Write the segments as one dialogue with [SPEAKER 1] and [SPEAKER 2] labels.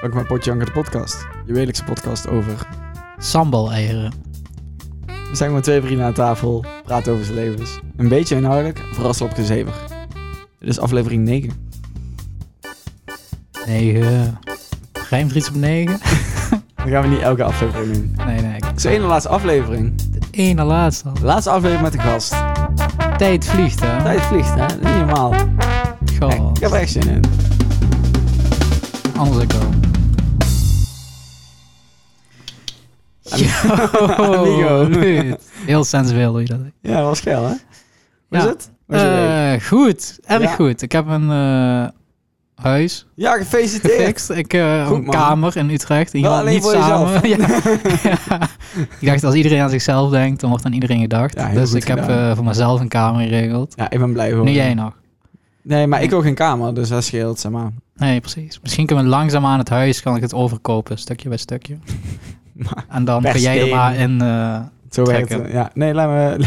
[SPEAKER 1] Welkom bij Potjanker, de podcast. Je wekelijkse podcast over...
[SPEAKER 2] Sambal-eieren.
[SPEAKER 1] We zijn gewoon twee vrienden aan tafel, praten over zijn levens. Een beetje inhoudelijk, verrassen op de zever. Dit is aflevering 9.
[SPEAKER 2] 9. Rijmt er iets op 9?
[SPEAKER 1] Dat gaan we niet elke aflevering doen.
[SPEAKER 2] Nee, nee.
[SPEAKER 1] Het is de ene laatste aflevering.
[SPEAKER 2] Eén na laatste al.
[SPEAKER 1] De laatste aflevering met de gast.
[SPEAKER 2] Tijd vliegt, hè?
[SPEAKER 1] Tijd vliegt, hè? Dat is niet normaal.
[SPEAKER 2] Oh. Goh,
[SPEAKER 1] Ik heb er echt zin in.
[SPEAKER 2] anders ik al.
[SPEAKER 1] Amigo.
[SPEAKER 2] Yo, dude. Heel sensueel doe je dat.
[SPEAKER 1] Ja, dat was geil, hè? Hoe is
[SPEAKER 2] Ja.
[SPEAKER 1] het? Hoe is je week?
[SPEAKER 2] Eh, goed, erg
[SPEAKER 1] Ja.
[SPEAKER 2] goed. Ik heb een eh, huis
[SPEAKER 1] Ja, gefeliciteerd.
[SPEAKER 2] gefixt. Ik eh
[SPEAKER 1] Goed,
[SPEAKER 2] een
[SPEAKER 1] man.
[SPEAKER 2] kamer in Utrecht. In
[SPEAKER 1] Wel
[SPEAKER 2] ieder geval
[SPEAKER 1] alleen
[SPEAKER 2] niet
[SPEAKER 1] voor
[SPEAKER 2] samen. ja. Ja. Ik dacht, als iedereen aan zichzelf denkt, dan wordt aan iedereen gedacht.
[SPEAKER 1] Ja, heel
[SPEAKER 2] dus
[SPEAKER 1] goed
[SPEAKER 2] ik heb
[SPEAKER 1] gedaan.
[SPEAKER 2] eh, voor mezelf een kamer geregeld.
[SPEAKER 1] Ja, ik ben blij hoor.
[SPEAKER 2] Nu jij nog.
[SPEAKER 1] Nee, maar ik wil geen kamer, dus dat scheelt, zeg maar.
[SPEAKER 2] Nee, precies. Misschien kunnen we langzaam aan het huis kan ik het overkopen, stukje bij stukje.
[SPEAKER 1] Maar
[SPEAKER 2] En dan
[SPEAKER 1] per
[SPEAKER 2] kun jij
[SPEAKER 1] se.
[SPEAKER 2] er maar in. eh,
[SPEAKER 1] Zo werkt
[SPEAKER 2] Trekken.
[SPEAKER 1] het. Ja, nee, laat me...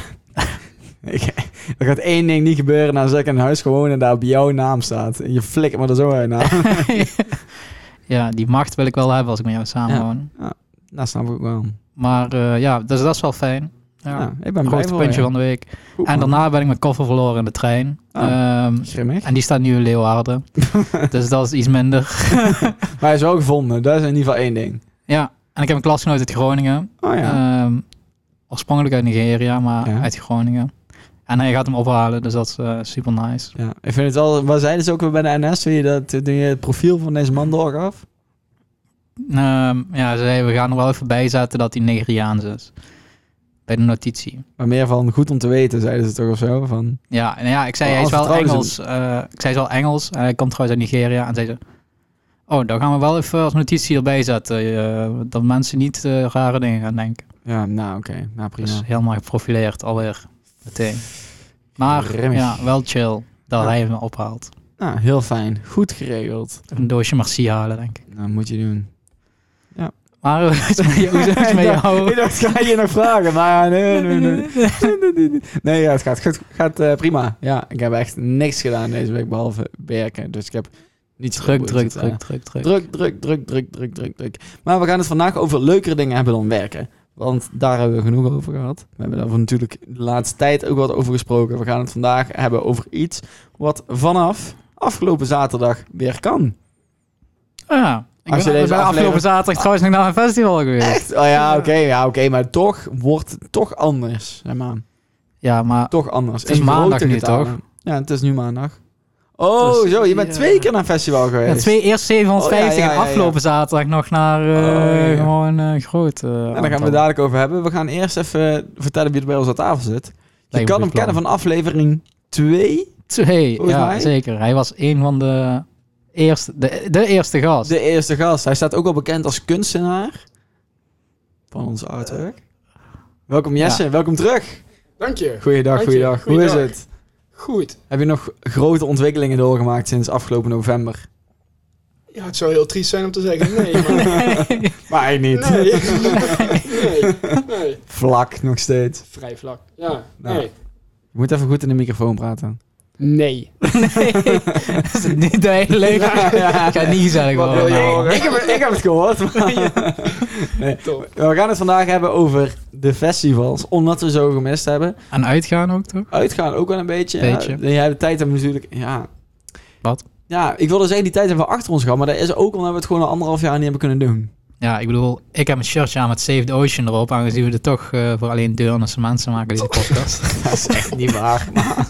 [SPEAKER 1] Ik- er gaat één ding niet gebeuren, nou zeg ik in huis gewoon en daar op jouw naam staat. En je flikkert me er zo uit nou. naar.
[SPEAKER 2] ja, die macht wil ik wel hebben als ik met jou samen
[SPEAKER 1] Ja.
[SPEAKER 2] woon.
[SPEAKER 1] dat snap ik ook wel.
[SPEAKER 2] Maar eh, ja, dus dat is wel fijn.
[SPEAKER 1] Ja,
[SPEAKER 2] Ja.
[SPEAKER 1] ik ben blij voor
[SPEAKER 2] Hoogtepuntje
[SPEAKER 1] je.
[SPEAKER 2] van de week.
[SPEAKER 1] Goed,
[SPEAKER 2] En
[SPEAKER 1] man.
[SPEAKER 2] daarna ben ik mijn koffer verloren in de trein.
[SPEAKER 1] Oh.
[SPEAKER 2] Ehm,
[SPEAKER 1] Grimmig.
[SPEAKER 2] en die staat nu in Leeuwarden. dus dat is iets minder.
[SPEAKER 1] Maar hij is wel gevonden, dat is in ieder geval één ding.
[SPEAKER 2] Ja, en ik heb een klasgenoot uit Groningen.
[SPEAKER 1] Oh ja.
[SPEAKER 2] Ehm, oorspronkelijk uit Nigeria, maar
[SPEAKER 1] Ja.
[SPEAKER 2] uit Groningen. En hij gaat hem ophalen, dus dat is eh, super nice.
[SPEAKER 1] ja. Ik vind het wel... Waar zeiden ze ook weer bij de NS toen je, dat, toen je het profiel van deze man doorgaf?
[SPEAKER 2] Ehm, ja, ze zei, we gaan er wel even bij zetten dat hij Nigeriaans is. Bij de notitie.
[SPEAKER 1] Maar meer van goed om te weten, zeiden ze toch of zo? Van,
[SPEAKER 2] Ja, en ja, ik zei,
[SPEAKER 1] Oh,
[SPEAKER 2] hij is wel
[SPEAKER 1] vertrouwen
[SPEAKER 2] Engels. eh, ik zei, hij is wel Engels. en hij komt trouwens uit Nigeria. En zei ze, oh, dan gaan we wel even als notitie erbij zetten. eh, dat mensen niet eh, rare dingen gaan denken.
[SPEAKER 1] ja, nou oké. Nou prima.
[SPEAKER 2] Dus helemaal geprofileerd alweer. Meteen. Maar
[SPEAKER 1] Grimmig.
[SPEAKER 2] ja, wel chill dat
[SPEAKER 1] Ja.
[SPEAKER 2] hij hem ophaalt.
[SPEAKER 1] Nou, heel fijn. Goed geregeld.
[SPEAKER 2] Even Een doosje Merci halen, denk ik.
[SPEAKER 1] Nou, moet je doen.
[SPEAKER 2] Maar hoe is het met jou? Hoe is het met
[SPEAKER 1] Ik dacht-
[SPEAKER 2] jou?
[SPEAKER 1] Ik dacht, ga je nog vragen? Maar nee, nee, nee. Nee, ja, het gaat, goed, gaat eh, prima. Ja, ik heb echt niks gedaan deze week behalve werken. Dus ik heb niets
[SPEAKER 2] Druk,
[SPEAKER 1] geboeid.
[SPEAKER 2] druk,
[SPEAKER 1] Het, eh,
[SPEAKER 2] druk, druk, druk.
[SPEAKER 1] druk, druk, druk, druk, druk, druk, druk. Maar we gaan het vandaag over leukere dingen hebben dan werken. Want daar hebben we genoeg over gehad. We hebben daarvoor natuurlijk de laatste tijd ook wat over gesproken. We gaan het vandaag hebben over iets wat vanaf afgelopen zaterdag weer kan.
[SPEAKER 2] Ja. Ah, Ik
[SPEAKER 1] Als je
[SPEAKER 2] ben,
[SPEAKER 1] deze
[SPEAKER 2] ik ben afgelopen
[SPEAKER 1] aflevering-
[SPEAKER 2] zaterdag trouwens nog naar een festival geweest.
[SPEAKER 1] Echt? Oh ja, oké, ja, oké. maar toch wordt het toch anders, zeg maar.
[SPEAKER 2] Ja, maar
[SPEAKER 1] Toch anders.
[SPEAKER 2] Het is
[SPEAKER 1] In
[SPEAKER 2] maandag
[SPEAKER 1] grote
[SPEAKER 2] nu,
[SPEAKER 1] getalen.
[SPEAKER 2] toch?
[SPEAKER 1] Ja, het is nu maandag. Oh,
[SPEAKER 2] Dus-
[SPEAKER 1] zo. Je bent
[SPEAKER 2] ja.
[SPEAKER 1] twee keer naar een festival geweest.
[SPEAKER 2] ja, twee, eerst 750
[SPEAKER 1] Oh, ja, ja,
[SPEAKER 2] en
[SPEAKER 1] ja, ja.
[SPEAKER 2] afgelopen zaterdag nog naar eh,
[SPEAKER 1] Oh, ja.
[SPEAKER 2] gewoon eh groot. eh
[SPEAKER 1] En daar gaan we het dadelijk over hebben. We gaan eerst even vertellen wie er bij ons aan tafel zit. Je
[SPEAKER 2] me
[SPEAKER 1] kan
[SPEAKER 2] goed
[SPEAKER 1] hem
[SPEAKER 2] plan.
[SPEAKER 1] kennen van aflevering 2.
[SPEAKER 2] Twee,
[SPEAKER 1] volgens
[SPEAKER 2] ja,
[SPEAKER 1] mij.
[SPEAKER 2] zeker. Hij was een van de eerste, de, de eerste gast.
[SPEAKER 1] De eerste gast. Hij staat ook al bekend als kunstenaar. Van ons artwork. Welkom Jesse, welkom terug.
[SPEAKER 3] Dank je.
[SPEAKER 1] Goeiedag,
[SPEAKER 3] Dank je.
[SPEAKER 1] goeiedag. Hoe is
[SPEAKER 3] Goeiedag.
[SPEAKER 1] het?
[SPEAKER 3] Goed.
[SPEAKER 1] Heb je nog grote ontwikkelingen doorgemaakt sinds afgelopen november?
[SPEAKER 3] Ja, het zou heel triest zijn om te zeggen nee, maar...
[SPEAKER 1] Maar hij niet.
[SPEAKER 3] Nee. nee, nee.
[SPEAKER 1] Vlak nog steeds.
[SPEAKER 3] Vrij vlak. Ja,
[SPEAKER 1] Nou.
[SPEAKER 3] nee.
[SPEAKER 1] Je moet even goed in de microfoon praten.
[SPEAKER 3] Nee.
[SPEAKER 2] Nee, dat is niet de hele leven. Ik ga het niet gezellig
[SPEAKER 3] Wat
[SPEAKER 2] worden.
[SPEAKER 3] wil je
[SPEAKER 2] nou.
[SPEAKER 3] horen?
[SPEAKER 1] Ik heb, het- ik heb het gehoord. maar-
[SPEAKER 3] Top.
[SPEAKER 1] We gaan het vandaag hebben over de festivals. Omdat we zo gemist hebben.
[SPEAKER 2] En uitgaan ook, toch?
[SPEAKER 1] Uitgaan ook wel een beetje.
[SPEAKER 2] Beetje.
[SPEAKER 1] Ja, jij de tijd hebben we natuurlijk. Ja.
[SPEAKER 2] Wat?
[SPEAKER 1] Ja, ik wilde zeggen, die tijd hebben we achter ons gehad. Maar dat is ook omdat we het gewoon al anderhalf jaar niet hebben kunnen doen.
[SPEAKER 2] Ja, ik bedoel, ik heb een shirtje aan met Save the Ocean erop, aangezien we er toch eh, voor alleen deurnerse mensen maken deze podcast.
[SPEAKER 1] Dat is echt niet waar. Maar,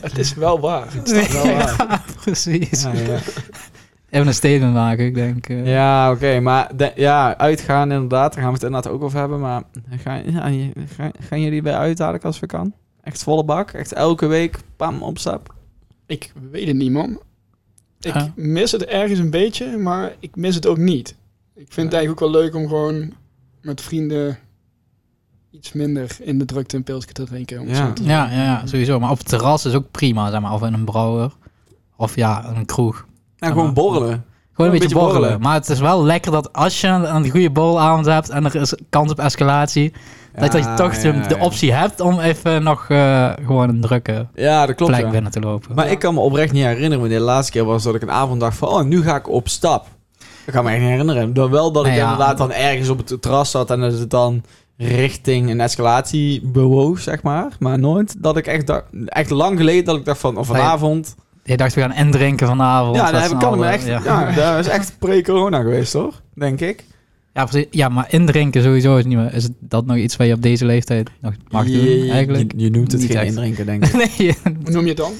[SPEAKER 3] Het is wel waar. Het is wel waar.
[SPEAKER 2] ja, precies.
[SPEAKER 1] ja, ja.
[SPEAKER 2] Even een statement maken, ik denk. eh,
[SPEAKER 1] Ja, oké. maar de- ja, uitgaan inderdaad. Daar gaan we het inderdaad ook over hebben. Maar gaan, ja, je- gaan, gaan jullie bij uithalen als we kan? Echt volle bak? Echt elke week? Pam, opstap?
[SPEAKER 3] Ik weet het niet, man. Ik
[SPEAKER 2] Ah.
[SPEAKER 3] mis het ergens een beetje, maar ik mis het ook niet. Ik vind het eigenlijk ook wel leuk om gewoon met vrienden iets minder in de drukte een pilsje te drinken. om het
[SPEAKER 1] Ja.
[SPEAKER 3] zo te
[SPEAKER 2] Ja, ja, ja, sowieso. Maar op het terras is ook prima, zeg maar. Of in een brouwer. Of ja, een kroeg. Gewoon
[SPEAKER 1] Nou, gewoon borrelen.
[SPEAKER 2] een, beetje, borrelen. Maar het is wel lekker dat als je een, een goede borrelavond hebt en er is kans op escalatie, dat, dat je
[SPEAKER 1] Ja,
[SPEAKER 2] toch de,
[SPEAKER 1] ja,
[SPEAKER 2] de
[SPEAKER 1] ja.
[SPEAKER 2] optie hebt om even nog eh, gewoon een drukke
[SPEAKER 1] Ja, dat klopt.
[SPEAKER 2] plek
[SPEAKER 1] ja.
[SPEAKER 2] binnen te lopen.
[SPEAKER 1] Maar ik kan me oprecht niet herinneren wanneer de laatste keer was dat ik een avond dacht van, oh, nu ga ik op stap. Ik kan me echt niet herinneren. Dan wel dat ik
[SPEAKER 2] Nou ja.
[SPEAKER 1] inderdaad dan ergens op het terras zat en dat het dan richting een escalatie bewoog, zeg maar. Maar nooit dat ik echt, da- echt lang geleden dat ik dacht van, of
[SPEAKER 2] Nee,
[SPEAKER 1] vanavond.
[SPEAKER 2] Je dacht, we gaan en drinken vanavond.
[SPEAKER 1] ja,
[SPEAKER 2] dat
[SPEAKER 1] dat heb,
[SPEAKER 2] is
[SPEAKER 1] kan ik
[SPEAKER 2] nou,
[SPEAKER 1] me
[SPEAKER 2] eh,
[SPEAKER 1] echt, ja.
[SPEAKER 2] Ja.
[SPEAKER 1] dat is echt pre-corona geweest, hoor. Denk ik.
[SPEAKER 2] Ja, precies. ja, maar indrinken sowieso is niet meer. Is het dat nog iets waar je op deze leeftijd nog mag
[SPEAKER 1] Je-
[SPEAKER 2] doen? Eigenlijk?
[SPEAKER 1] Je, je noemt het
[SPEAKER 2] Niet
[SPEAKER 1] geen
[SPEAKER 2] echt.
[SPEAKER 1] indrinken, denk ik.
[SPEAKER 2] nee. je-
[SPEAKER 3] Hoe noem je het dan?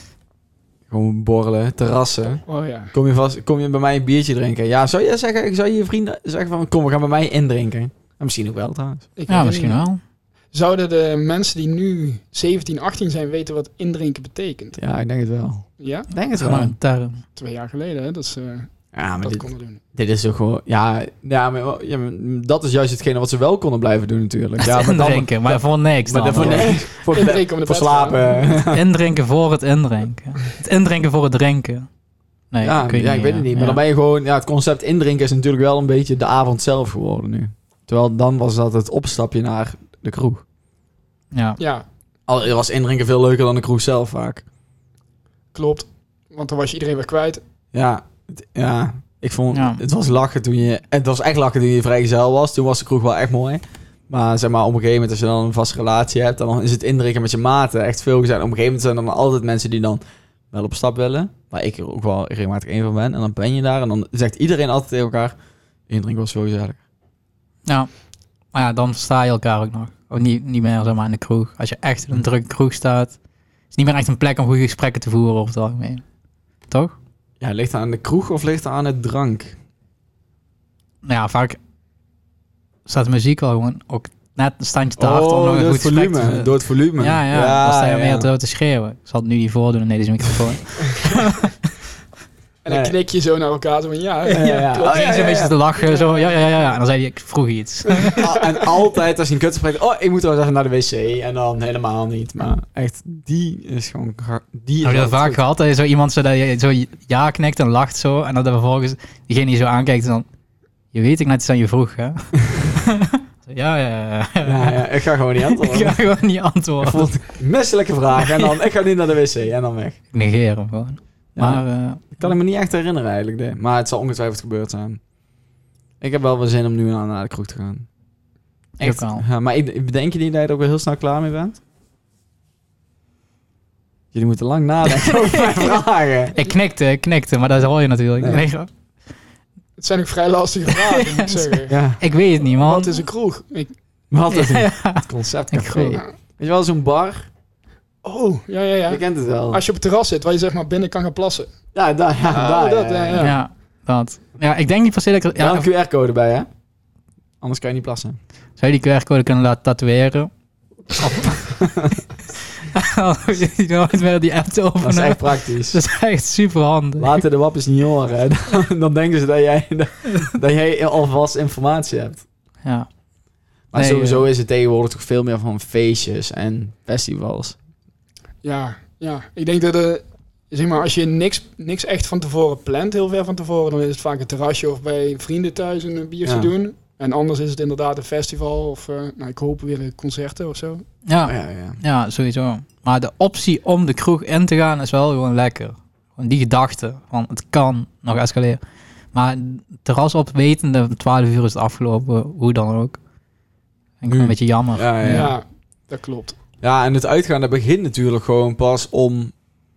[SPEAKER 1] Gewoon borrelen, terrassen.
[SPEAKER 3] Oh ja.
[SPEAKER 1] Kom je, vast, kom je bij mij een biertje drinken? Ja, zou je zeggen, zou je je vrienden zeggen van, kom, we gaan bij mij indrinken? En misschien ook wel, trouwens.
[SPEAKER 3] Ik
[SPEAKER 2] Ja,
[SPEAKER 3] weet
[SPEAKER 2] misschien
[SPEAKER 3] niet.
[SPEAKER 2] wel.
[SPEAKER 3] Zouden de mensen die nu 17, 18 zijn weten wat indrinken betekent?
[SPEAKER 1] Ja, ik denk het wel.
[SPEAKER 3] Ja,
[SPEAKER 1] Ik denk het
[SPEAKER 2] Gewoon
[SPEAKER 1] wel.
[SPEAKER 2] een term.
[SPEAKER 3] twee jaar geleden. Hè? Dat ze eh,
[SPEAKER 1] Ja, Ah, maar
[SPEAKER 3] dat
[SPEAKER 1] dit,
[SPEAKER 3] konden doen.
[SPEAKER 1] dit is toch gewoon... Ja, ja, maar, ja, maar dat is juist hetgene wat ze wel konden blijven doen natuurlijk. Ja, maar dan...
[SPEAKER 2] indrinken, maar voor niks.
[SPEAKER 1] Maar
[SPEAKER 2] dan.
[SPEAKER 1] daarvoor nee. Voor,
[SPEAKER 3] Indrinken om de
[SPEAKER 1] voor
[SPEAKER 3] bed te gaan.
[SPEAKER 1] slapen.
[SPEAKER 2] Indrinken voor het indrinken. Het indrinken voor het drinken. Nee,
[SPEAKER 1] ja,
[SPEAKER 2] ik weet,
[SPEAKER 1] ja,
[SPEAKER 2] niet,
[SPEAKER 1] ik weet het
[SPEAKER 2] ja.
[SPEAKER 1] niet. Maar
[SPEAKER 2] Ja.
[SPEAKER 1] dan ben je gewoon... Ja, het concept indrinken is natuurlijk wel een beetje de avond zelf geworden nu. Terwijl dan was dat het opstapje naar de kroeg.
[SPEAKER 2] Ja.
[SPEAKER 3] Ja,
[SPEAKER 1] Al was indrinken veel leuker dan de kroeg zelf vaak.
[SPEAKER 3] klopt. Want dan was je iedereen weer kwijt.
[SPEAKER 1] Ja, het- ja. Ik vond,
[SPEAKER 2] Ja.
[SPEAKER 1] het was lachen toen je, het was echt lachen toen je vrijgezel was. Toen was de kroeg wel echt mooi. Maar zeg maar, op een gegeven moment, als je dan een vaste relatie hebt, dan is het indrinken met je maten echt veel gezegd. Op een gegeven moment zijn er dan altijd mensen die dan wel op stap willen. Waar ik er ook wel regelmatig één van ben. En dan ben je daar en dan zegt iedereen altijd tegen elkaar, indrinken was veel gezelliger.
[SPEAKER 2] Ja. Maar ja, dan sta je elkaar ook nog. Of niet, niet meer zeg maar in de kroeg. Als je echt
[SPEAKER 1] Hm.
[SPEAKER 2] in een drukke kroeg staat, is niet meer echt een plek om goede gesprekken te voeren over het algemeen. Toch?
[SPEAKER 1] Ja, ligt het aan de kroeg of ligt het aan het drank?
[SPEAKER 2] Nou ja, vaak staat de muziek al gewoon ook net een standje te hard om nog een
[SPEAKER 1] door,
[SPEAKER 2] goed
[SPEAKER 1] het
[SPEAKER 2] gesprek te
[SPEAKER 1] Oh, volume,
[SPEAKER 2] voeren.
[SPEAKER 1] door het volume.
[SPEAKER 2] Ja, ja, dan sta je
[SPEAKER 1] ja,
[SPEAKER 2] meer
[SPEAKER 1] ja. Oh,
[SPEAKER 2] te, te schreeuwen. Ik zal het nu niet voordoen. Nee, deze microfoon.
[SPEAKER 3] En dan
[SPEAKER 1] Nee.
[SPEAKER 3] knik je zo naar elkaar. Zo van, ja, ja,
[SPEAKER 1] Ja, ja.
[SPEAKER 3] klopt.
[SPEAKER 1] Oh,
[SPEAKER 2] Dan zit je een beetje te lachen. Zo, ja, ja, ja, ja. En dan zei hij, ik vroeg iets.
[SPEAKER 1] Al- Ah, en altijd als je een kut spreekt, oh, ik moet wel eens even naar de wc. En dan helemaal niet. Maar echt, die is gewoon... gar- Die is
[SPEAKER 2] Heb je dat
[SPEAKER 1] altijd
[SPEAKER 2] vaak
[SPEAKER 1] goed.
[SPEAKER 2] gehad? Dat je zo iemand zo, dat je zo ja knikt en lacht zo. En dat er vervolgens diegene die zo aankijkt en dan... Je weet ik net iets aan je vroeg, hè? Zo, ja, ja, ja.
[SPEAKER 1] Ja, ja, ik ga gewoon niet
[SPEAKER 2] Ik
[SPEAKER 1] antwoorden.
[SPEAKER 2] ga gewoon niet
[SPEAKER 1] Ik
[SPEAKER 2] antwoorden.
[SPEAKER 1] vond het een misselijke vraag. En dan, ik ga niet naar de wc. En dan weg.
[SPEAKER 2] Ik negeer hem gewoon.
[SPEAKER 1] Ja.
[SPEAKER 2] Maar eh,
[SPEAKER 1] Ik kan het me niet echt herinneren eigenlijk. nee. Maar het zal ongetwijfeld gebeurd zijn. Ik heb wel weer zin om nu aan- naar de kroeg te gaan.
[SPEAKER 2] Ik
[SPEAKER 1] Echt.
[SPEAKER 2] ook wel.
[SPEAKER 1] Ja, maar ik- ik bedenk je niet dat je er ook weer heel snel klaar mee bent? Jullie moeten lang nadenken over mijn vragen.
[SPEAKER 2] ik knikte, ik knikte. Maar dat hoor je natuurlijk.
[SPEAKER 1] Nee.
[SPEAKER 2] Nee, grap.
[SPEAKER 3] Het zijn ook vrij lastige vragen, moet ik zeggen.
[SPEAKER 1] Ja,
[SPEAKER 2] ik weet het niet, man.
[SPEAKER 3] Wat is een kroeg? Ik,
[SPEAKER 1] wat is het
[SPEAKER 2] Ja.
[SPEAKER 1] concept
[SPEAKER 2] Ik
[SPEAKER 1] café?
[SPEAKER 2] geloof-
[SPEAKER 1] Weet je wel, zo'n bar?
[SPEAKER 3] oh, ja, ja,
[SPEAKER 1] Je
[SPEAKER 3] ja.
[SPEAKER 1] kent het wel.
[SPEAKER 3] Als je op het terras zit, waar je zeg maar binnen kan gaan plassen.
[SPEAKER 1] Ja, daar, ja,
[SPEAKER 3] Oh,
[SPEAKER 1] daar,
[SPEAKER 3] dat,
[SPEAKER 1] ja, ja.
[SPEAKER 3] ja,
[SPEAKER 2] Ja.
[SPEAKER 3] ja.
[SPEAKER 2] dat. Ja, ik denk niet per se dat ik...
[SPEAKER 1] Wel
[SPEAKER 2] Ja,
[SPEAKER 1] een QR-code erbij, hè? Anders kan je niet plassen.
[SPEAKER 2] Zou je die QR-code kunnen laten tatoeëren? Oh. je ziet nooit meer die app te
[SPEAKER 1] Oh, Dat is
[SPEAKER 2] openen.
[SPEAKER 1] echt praktisch.
[SPEAKER 2] Dat is echt super handig.
[SPEAKER 1] Laten de wappies niet horen. hè. Dan, dan denken ze dat jij, dat, dat jij alvast informatie hebt.
[SPEAKER 2] Ja.
[SPEAKER 1] Maar
[SPEAKER 2] Nee,
[SPEAKER 1] sowieso
[SPEAKER 2] eh.
[SPEAKER 1] is het tegenwoordig toch veel meer van feestjes en festivals.
[SPEAKER 3] Ja, ja. Ik denk dat eh, zeg maar, als je niks, niks echt van tevoren plant, heel ver van tevoren, dan is het vaak een terrasje of bij vrienden thuis een biertje
[SPEAKER 1] Ja.
[SPEAKER 3] doen. En anders is het inderdaad een festival of, eh, nou, ik hoop weer eh, concerten of zo.
[SPEAKER 1] Oh,
[SPEAKER 2] Ja,
[SPEAKER 1] ja, ja.
[SPEAKER 2] ja, sowieso. Maar de optie om de kroeg in te gaan is wel gewoon lekker. Gewoon die gedachte van het kan nog escaleren. Maar terras op wetende, om 12 uur is het afgelopen, hoe dan ook. En ik vind het
[SPEAKER 1] Hmm.
[SPEAKER 2] een beetje jammer.
[SPEAKER 1] Ja,
[SPEAKER 3] Ja,
[SPEAKER 1] ja.
[SPEAKER 3] dat klopt.
[SPEAKER 1] Ja, en het uitgaan dat begint natuurlijk gewoon pas om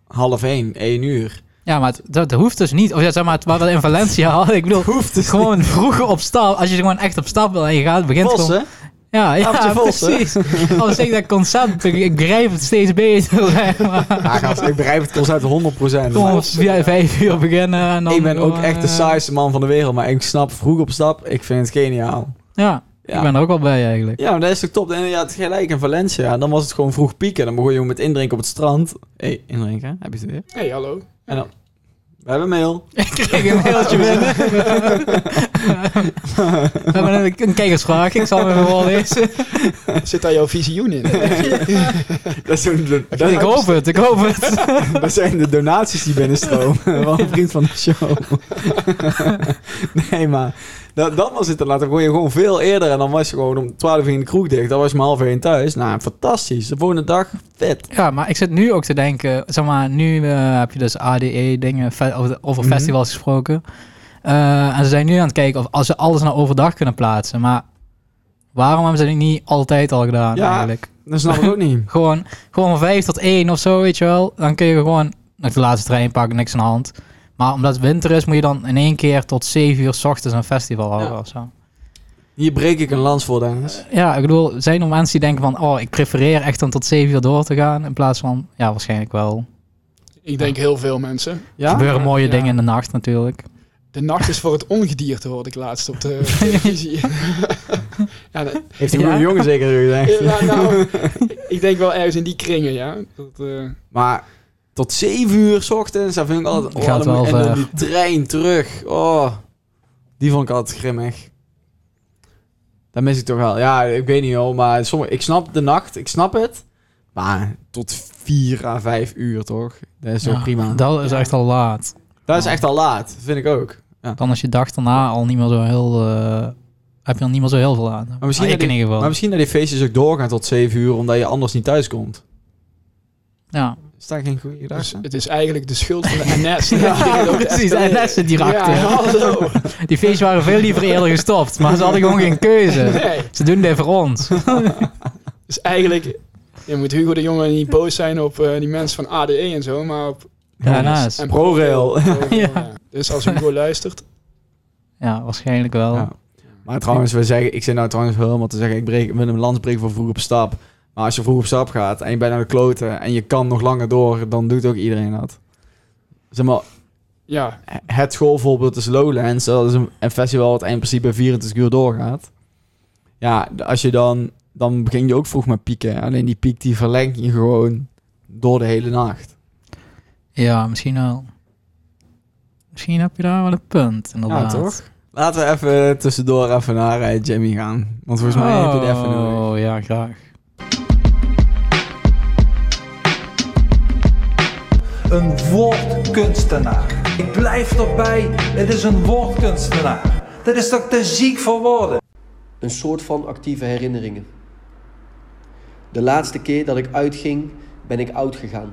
[SPEAKER 1] half één, één uur.
[SPEAKER 2] Ja, maar het- dat hoeft dus niet. Of ja, zeg maar, het- wat we in Valencia hadden. Ik bedoel,
[SPEAKER 1] Hoeft dus
[SPEAKER 2] gewoon vroeg op stap. Als je gewoon echt op stap wil en je gaat, begint
[SPEAKER 1] niet.
[SPEAKER 2] gewoon...
[SPEAKER 1] Vossen?
[SPEAKER 2] Ja,
[SPEAKER 1] Avondje
[SPEAKER 2] ja
[SPEAKER 1] Vos, hè?
[SPEAKER 2] precies. Als ik dat concept, ik, ik begrijp het steeds beter. zeg maar.
[SPEAKER 1] Ja, gast, ik begrijp het concept 100 procent.
[SPEAKER 2] Gewoon om via vijf uur beginnen. En dan
[SPEAKER 1] Ik ben ook
[SPEAKER 2] gewoon,
[SPEAKER 1] echt de
[SPEAKER 2] eh,
[SPEAKER 1] saaiste man van de wereld, maar ik snap vroeg op stap. Ik vind het geniaal.
[SPEAKER 2] Ja,
[SPEAKER 1] Ja.
[SPEAKER 2] ik ben er ook wel bij eigenlijk.
[SPEAKER 1] Ja, maar dat is toch top. En ja, het gelijk in Valencia. Dan was het gewoon vroeg pieken. Dan begon je met indrinken op het strand. Hé, hey, indrinken, heb je het weer?
[SPEAKER 3] hey, hallo.
[SPEAKER 1] En dan, we hebben mail.
[SPEAKER 2] Ik kreeg een mailtje binnen. We hebben een, een kijkersvraag, ik zal hem even voorlezen.
[SPEAKER 3] Zit daar jouw visioen in?
[SPEAKER 1] Dat zijn de, dat,
[SPEAKER 2] Ik hoop het, ik hoop het.
[SPEAKER 1] dat zijn de donaties die binnenstromen. Wel een vriend van de show. nee, maar dat, dat was het dan laten. Dan kon je gewoon veel eerder. En dan was je gewoon om 12 uur in de kroeg dicht. Dan was je om half één thuis. Nou, fantastisch. De volgende dag, vet.
[SPEAKER 2] Ja, maar ik zit nu ook te denken, zeg maar, nu eh, heb je dus ADE E dingen, fe- over, over
[SPEAKER 1] Mhm.
[SPEAKER 2] festivals gesproken. Eh, en ze zijn nu aan het kijken of als ze alles naar overdag kunnen plaatsen. Maar waarom hebben ze dat niet altijd al gedaan
[SPEAKER 1] Ja.
[SPEAKER 2] eigenlijk?
[SPEAKER 1] Dat snap ik ook niet.
[SPEAKER 2] Gewoon, gewoon van 5 tot 1 of zo, weet je wel. Dan kun je gewoon nog de laatste trein pakken, niks aan de hand. Maar omdat het winter is, moet je dan in één keer tot 7 uur s ochtends een festival houden
[SPEAKER 1] Ja.
[SPEAKER 2] of zo.
[SPEAKER 1] Hier breek ik een lans voor, Dennis.
[SPEAKER 2] Ja, ik bedoel, zijn er mensen die denken van... Oh, ik prefereer echt dan tot 7 uur door te gaan. In plaats van, ja, waarschijnlijk wel.
[SPEAKER 3] Ik denk heel veel mensen.
[SPEAKER 2] Er
[SPEAKER 1] Ja?
[SPEAKER 2] gebeuren mooie
[SPEAKER 3] Ja.
[SPEAKER 2] dingen in de nacht natuurlijk.
[SPEAKER 3] De nacht is voor het ongedierte, hoorde ik laatst op de televisie. ja, dat-
[SPEAKER 1] Heeft die
[SPEAKER 2] Ja.
[SPEAKER 1] goede jongen zeker gezegd.
[SPEAKER 3] ja, nou, ik denk wel ergens in die kringen, ja. Dat, eh,
[SPEAKER 1] Maar tot 7 uur 's ochtends, dat vind ik altijd...
[SPEAKER 2] Gaat
[SPEAKER 1] dan moet-
[SPEAKER 2] wel
[SPEAKER 1] en dan
[SPEAKER 2] ver.
[SPEAKER 1] die trein terug. Oh, die vond ik altijd grimmig. Dat mis ik toch wel. Ja, ik weet niet hoor, maar sommige, ik snap de nacht, ik snap het. Maar tot 4 à 5 uur toch? Dat is toch
[SPEAKER 2] Ja,
[SPEAKER 1] prima. Dat,
[SPEAKER 2] Dat is
[SPEAKER 3] Ja.
[SPEAKER 2] echt al laat.
[SPEAKER 1] is echt al laat, vind ik ook.
[SPEAKER 2] Dan als je dag daarna al niet meer zo heel... eh, heb je dan niet meer zo heel veel aan. Maar
[SPEAKER 1] misschien
[SPEAKER 2] misschien ik
[SPEAKER 1] dat
[SPEAKER 2] in ieder geval.
[SPEAKER 1] Maar misschien dat die feestjes ook doorgaan tot 7 uur, omdat je anders niet thuis komt.
[SPEAKER 2] Ja,
[SPEAKER 1] Is daar geen goede
[SPEAKER 3] dus
[SPEAKER 1] gedachte?
[SPEAKER 3] het is eigenlijk de schuld van de NS.
[SPEAKER 2] ja precies. En dat zit hier achter.
[SPEAKER 3] eh, Ja, hallo.
[SPEAKER 2] Die feestjes waren veel liever eerder gestopt. Maar ze hadden gewoon geen keuze.
[SPEAKER 3] Nee,
[SPEAKER 2] Ze doen dit voor ons.
[SPEAKER 3] dus eigenlijk je moet Hugo de Jonge niet boos zijn op eh, die mensen van ADE en zo, maar op...
[SPEAKER 2] Daarnaast.
[SPEAKER 3] en
[SPEAKER 1] ProRail.
[SPEAKER 3] ProRail,
[SPEAKER 2] Ja.
[SPEAKER 3] ja. Dus als Hugo luistert,
[SPEAKER 2] Ja, waarschijnlijk wel.
[SPEAKER 1] Ja. Maar trouwens, we zeggen, ik zit nou trouwens wel helemaal te zeggen, ik, breek, ik wil een lans breken voor vroeg op stap. Maar als je vroeg op stap gaat en je bent naar de kloten en je kan nog langer door, dan doet ook iedereen dat. Zeg maar,
[SPEAKER 3] ja,
[SPEAKER 1] het schoolvoorbeeld is Lowlands. Dat is een, een festival wat in principe 24 uur doorgaat. Ja, d- als je dan, dan begin je ook vroeg met pieken. Alleen die piek die verlengt je gewoon door de hele nacht.
[SPEAKER 2] Ja, misschien wel. Misschien heb je daar wel een punt, inderdaad.
[SPEAKER 1] Ja, toch? Laten we even tussendoor even naar eh, Jimmy gaan. Want volgens mij heb je het even nodig.
[SPEAKER 2] Oh, ja, graag.
[SPEAKER 4] Een woordkunstenaar. Ik blijf erbij, het is een woordkunstenaar. Dat is toch te ziek voor woorden?
[SPEAKER 5] een soort van actieve herinneringen. De laatste keer dat ik uitging, ben ik oud gegaan.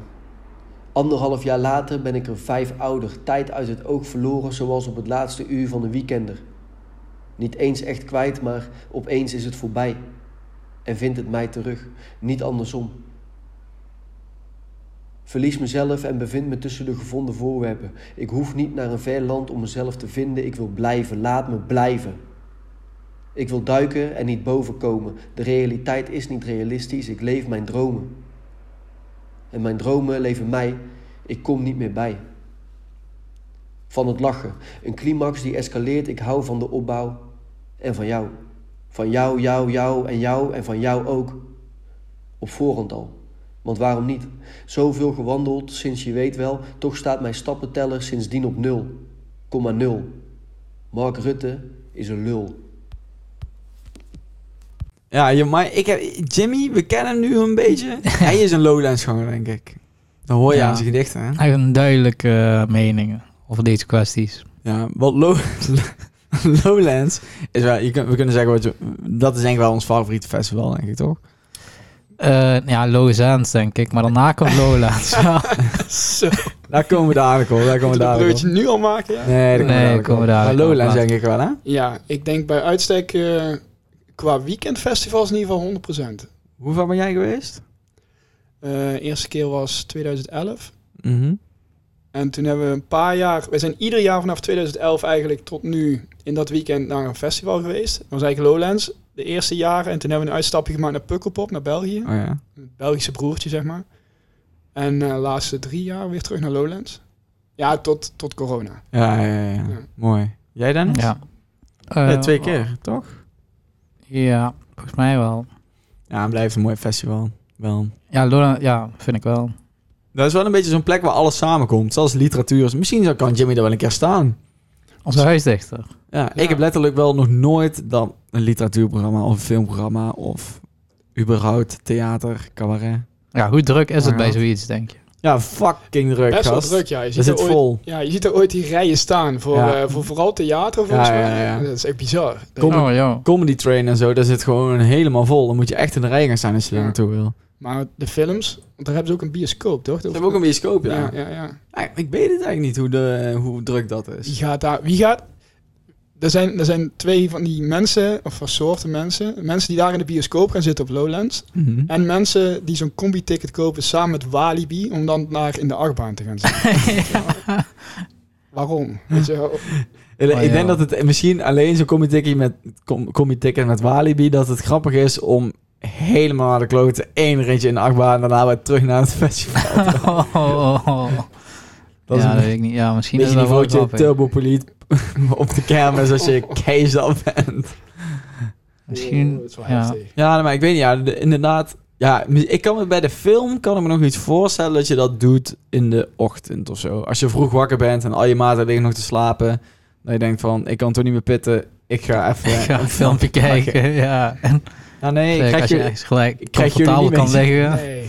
[SPEAKER 5] Anderhalf jaar later ben ik er vijf ouder, tijd uit het oog verloren, zoals op het laatste uur van een weekender. Niet eens echt kwijt, maar opeens is het voorbij. En vindt het mij terug, niet andersom. Verlies mezelf en bevind me tussen de gevonden voorwerpen. Ik hoef niet naar een ver land om mezelf te vinden, ik wil blijven, laat me blijven. Ik wil duiken en niet boven komen. De realiteit is niet realistisch. Ik leef mijn dromen. En mijn dromen leven mij. Ik kom niet meer bij. Van het lachen. Een climax die escaleert. Ik hou van de opbouw. En van jou. Van jou, jou, jou en jou en van jou ook. Op voorhand al. Want waarom niet? Zoveel gewandeld sinds je weet wel. Toch staat mijn stappenteller sindsdien op 0,0. Mark Rutte is een lul.
[SPEAKER 1] Ja, je, maar ik heb, Jimmy, we kennen hem nu een beetje. Hij is een Lowlands-ganger, denk ik. Dat hoor je
[SPEAKER 2] Ja.
[SPEAKER 1] aan zijn gedichten, hè?
[SPEAKER 2] Hij heeft een duidelijke eh, meningen over deze kwesties.
[SPEAKER 1] Ja, want Low- Lowlands is wel... Je kunt, we kunnen zeggen, wat je, dat is denk ik wel ons favoriete festival, denk ik, toch?
[SPEAKER 2] Eh, ja, Lozans denk ik. Maar daarna komt Lowlands.
[SPEAKER 3] zo.
[SPEAKER 1] Daar komen we dadelijk op, daar komen we
[SPEAKER 3] Moeten we dat
[SPEAKER 1] dadelijk
[SPEAKER 3] broodje
[SPEAKER 1] op.
[SPEAKER 3] nu al maken, ja?
[SPEAKER 1] Nee, daar komen we
[SPEAKER 2] Nee,
[SPEAKER 1] dadelijk
[SPEAKER 2] komen
[SPEAKER 1] op.
[SPEAKER 2] we dadelijk
[SPEAKER 1] Maar
[SPEAKER 2] op,
[SPEAKER 1] Lowlands
[SPEAKER 2] later.
[SPEAKER 1] denk ik wel, hè?
[SPEAKER 3] Ja, ik denk bij uitstek eh, qua weekendfestivals in ieder geval 100%.
[SPEAKER 1] Hoe ver ben jij geweest?
[SPEAKER 3] Eh eerste keer was 2011.
[SPEAKER 1] Mhm.
[SPEAKER 3] En toen hebben we een paar jaar... We zijn ieder jaar vanaf 2011 eigenlijk tot nu in dat weekend naar een festival geweest. Dat was eigenlijk Lowlands, de eerste jaren. En toen hebben we een uitstapje gemaakt naar Pukkelpop, naar België.
[SPEAKER 1] Oh ja.
[SPEAKER 3] Het Belgische broertje, zeg maar. En eh, de laatste drie jaar weer terug naar Lowlands. Ja, tot, tot corona.
[SPEAKER 1] Ja, ja, ja, ja.
[SPEAKER 3] Ja.
[SPEAKER 1] Mooi. Jij, Dennis?
[SPEAKER 2] ja.
[SPEAKER 1] Ja,
[SPEAKER 2] Eh,
[SPEAKER 1] twee keer, toch?
[SPEAKER 2] Ja, volgens mij wel.
[SPEAKER 1] Ja, het blijft een mooi festival. Wel.
[SPEAKER 2] Ja, Lowlands, ja, vind ik wel.
[SPEAKER 1] Dat is wel een beetje zo'n plek waar alles samenkomt. Zelfs literatuur. Misschien zou- kan Jimmy er wel een keer staan.
[SPEAKER 2] Onze huisdichter.
[SPEAKER 1] Ja,
[SPEAKER 3] Ja.
[SPEAKER 1] ik heb letterlijk wel nog nooit dan een literatuurprogramma of een filmprogramma of überhaupt theater, cabaret.
[SPEAKER 2] Ja, hoe druk is
[SPEAKER 1] Maar
[SPEAKER 2] het bij
[SPEAKER 1] Oh, ja.
[SPEAKER 2] zoiets, denk je?
[SPEAKER 1] Ja, fucking druk,
[SPEAKER 3] Best wel
[SPEAKER 1] gast.
[SPEAKER 3] druk, ja. Je
[SPEAKER 1] Er
[SPEAKER 3] ziet er
[SPEAKER 1] zit
[SPEAKER 3] ooit
[SPEAKER 1] vol.
[SPEAKER 3] Ja, je ziet er ooit die rijen staan voor,
[SPEAKER 1] Ja.
[SPEAKER 3] eh, voor vooral theater volgens
[SPEAKER 1] Ja, ja,
[SPEAKER 3] mij.
[SPEAKER 1] ja.
[SPEAKER 3] Dat is echt bizar. Dat-
[SPEAKER 1] Kom-
[SPEAKER 2] Oh, joh.
[SPEAKER 1] Comedy train en zo, daar zit gewoon helemaal vol. Dan moet je echt in de rij gaan staan als je daar
[SPEAKER 3] Ja.
[SPEAKER 1] naartoe wil.
[SPEAKER 3] Maar de films, want daar hebben ze ook een bioscoop, toch?
[SPEAKER 1] Ze hebben ook een bioscoop, ja.
[SPEAKER 3] ja, ja, ja.
[SPEAKER 1] Ja, Ik weet het eigenlijk niet hoe, de, hoe druk dat
[SPEAKER 3] Wie
[SPEAKER 1] is.
[SPEAKER 3] gaat daar? Wie gaat? er zijn, er zijn twee van die mensen, of van soorten mensen. Mensen die daar in de bioscoop gaan zitten op Lowlands. En mensen die zo'n combi-ticket kopen samen met Walibi, om dan naar in de achtbaan te gaan zitten. Ja. Waarom? Weet je, wel?
[SPEAKER 1] Ik-
[SPEAKER 2] Oh,
[SPEAKER 1] ik
[SPEAKER 2] ja.
[SPEAKER 1] denk dat het misschien alleen zo'n comedy met, com, comedy met Walibi... dat het grappig is om helemaal naar de klote één ritje in de achtbaan... en daarna weer terug naar het festival.
[SPEAKER 2] Oh, oh, oh.
[SPEAKER 1] Dat is
[SPEAKER 2] ja,
[SPEAKER 1] een
[SPEAKER 2] dat weet ik niet. Ja, misschien is
[SPEAKER 1] beetje
[SPEAKER 2] dat wel
[SPEAKER 1] niveautje
[SPEAKER 2] grappig.
[SPEAKER 1] Turbo Police op de kermis als je keizer bent.
[SPEAKER 2] Misschien,
[SPEAKER 3] Oh, het is wel
[SPEAKER 2] ja.
[SPEAKER 3] heftig.
[SPEAKER 1] Ja, maar ik weet niet. Ja, de- inderdaad. Ja, ik kan me bij de film kan ik me nog iets voorstellen dat je dat doet in de ochtend of zo. Als je vroeg wakker bent en al je maten liggen nog te slapen. Dan je denkt van, ik kan toch niet meer pitten. Ik ga even
[SPEAKER 2] Ik ga een filmpje kijken, ja. En
[SPEAKER 1] Ja, nee, ik
[SPEAKER 2] zeker
[SPEAKER 1] krijg
[SPEAKER 2] als je
[SPEAKER 1] je...
[SPEAKER 2] ergens gelijk
[SPEAKER 1] ik krijg jullie
[SPEAKER 2] comfortabel
[SPEAKER 1] niet
[SPEAKER 2] kan
[SPEAKER 1] mee.
[SPEAKER 2] liggen.
[SPEAKER 3] Nee.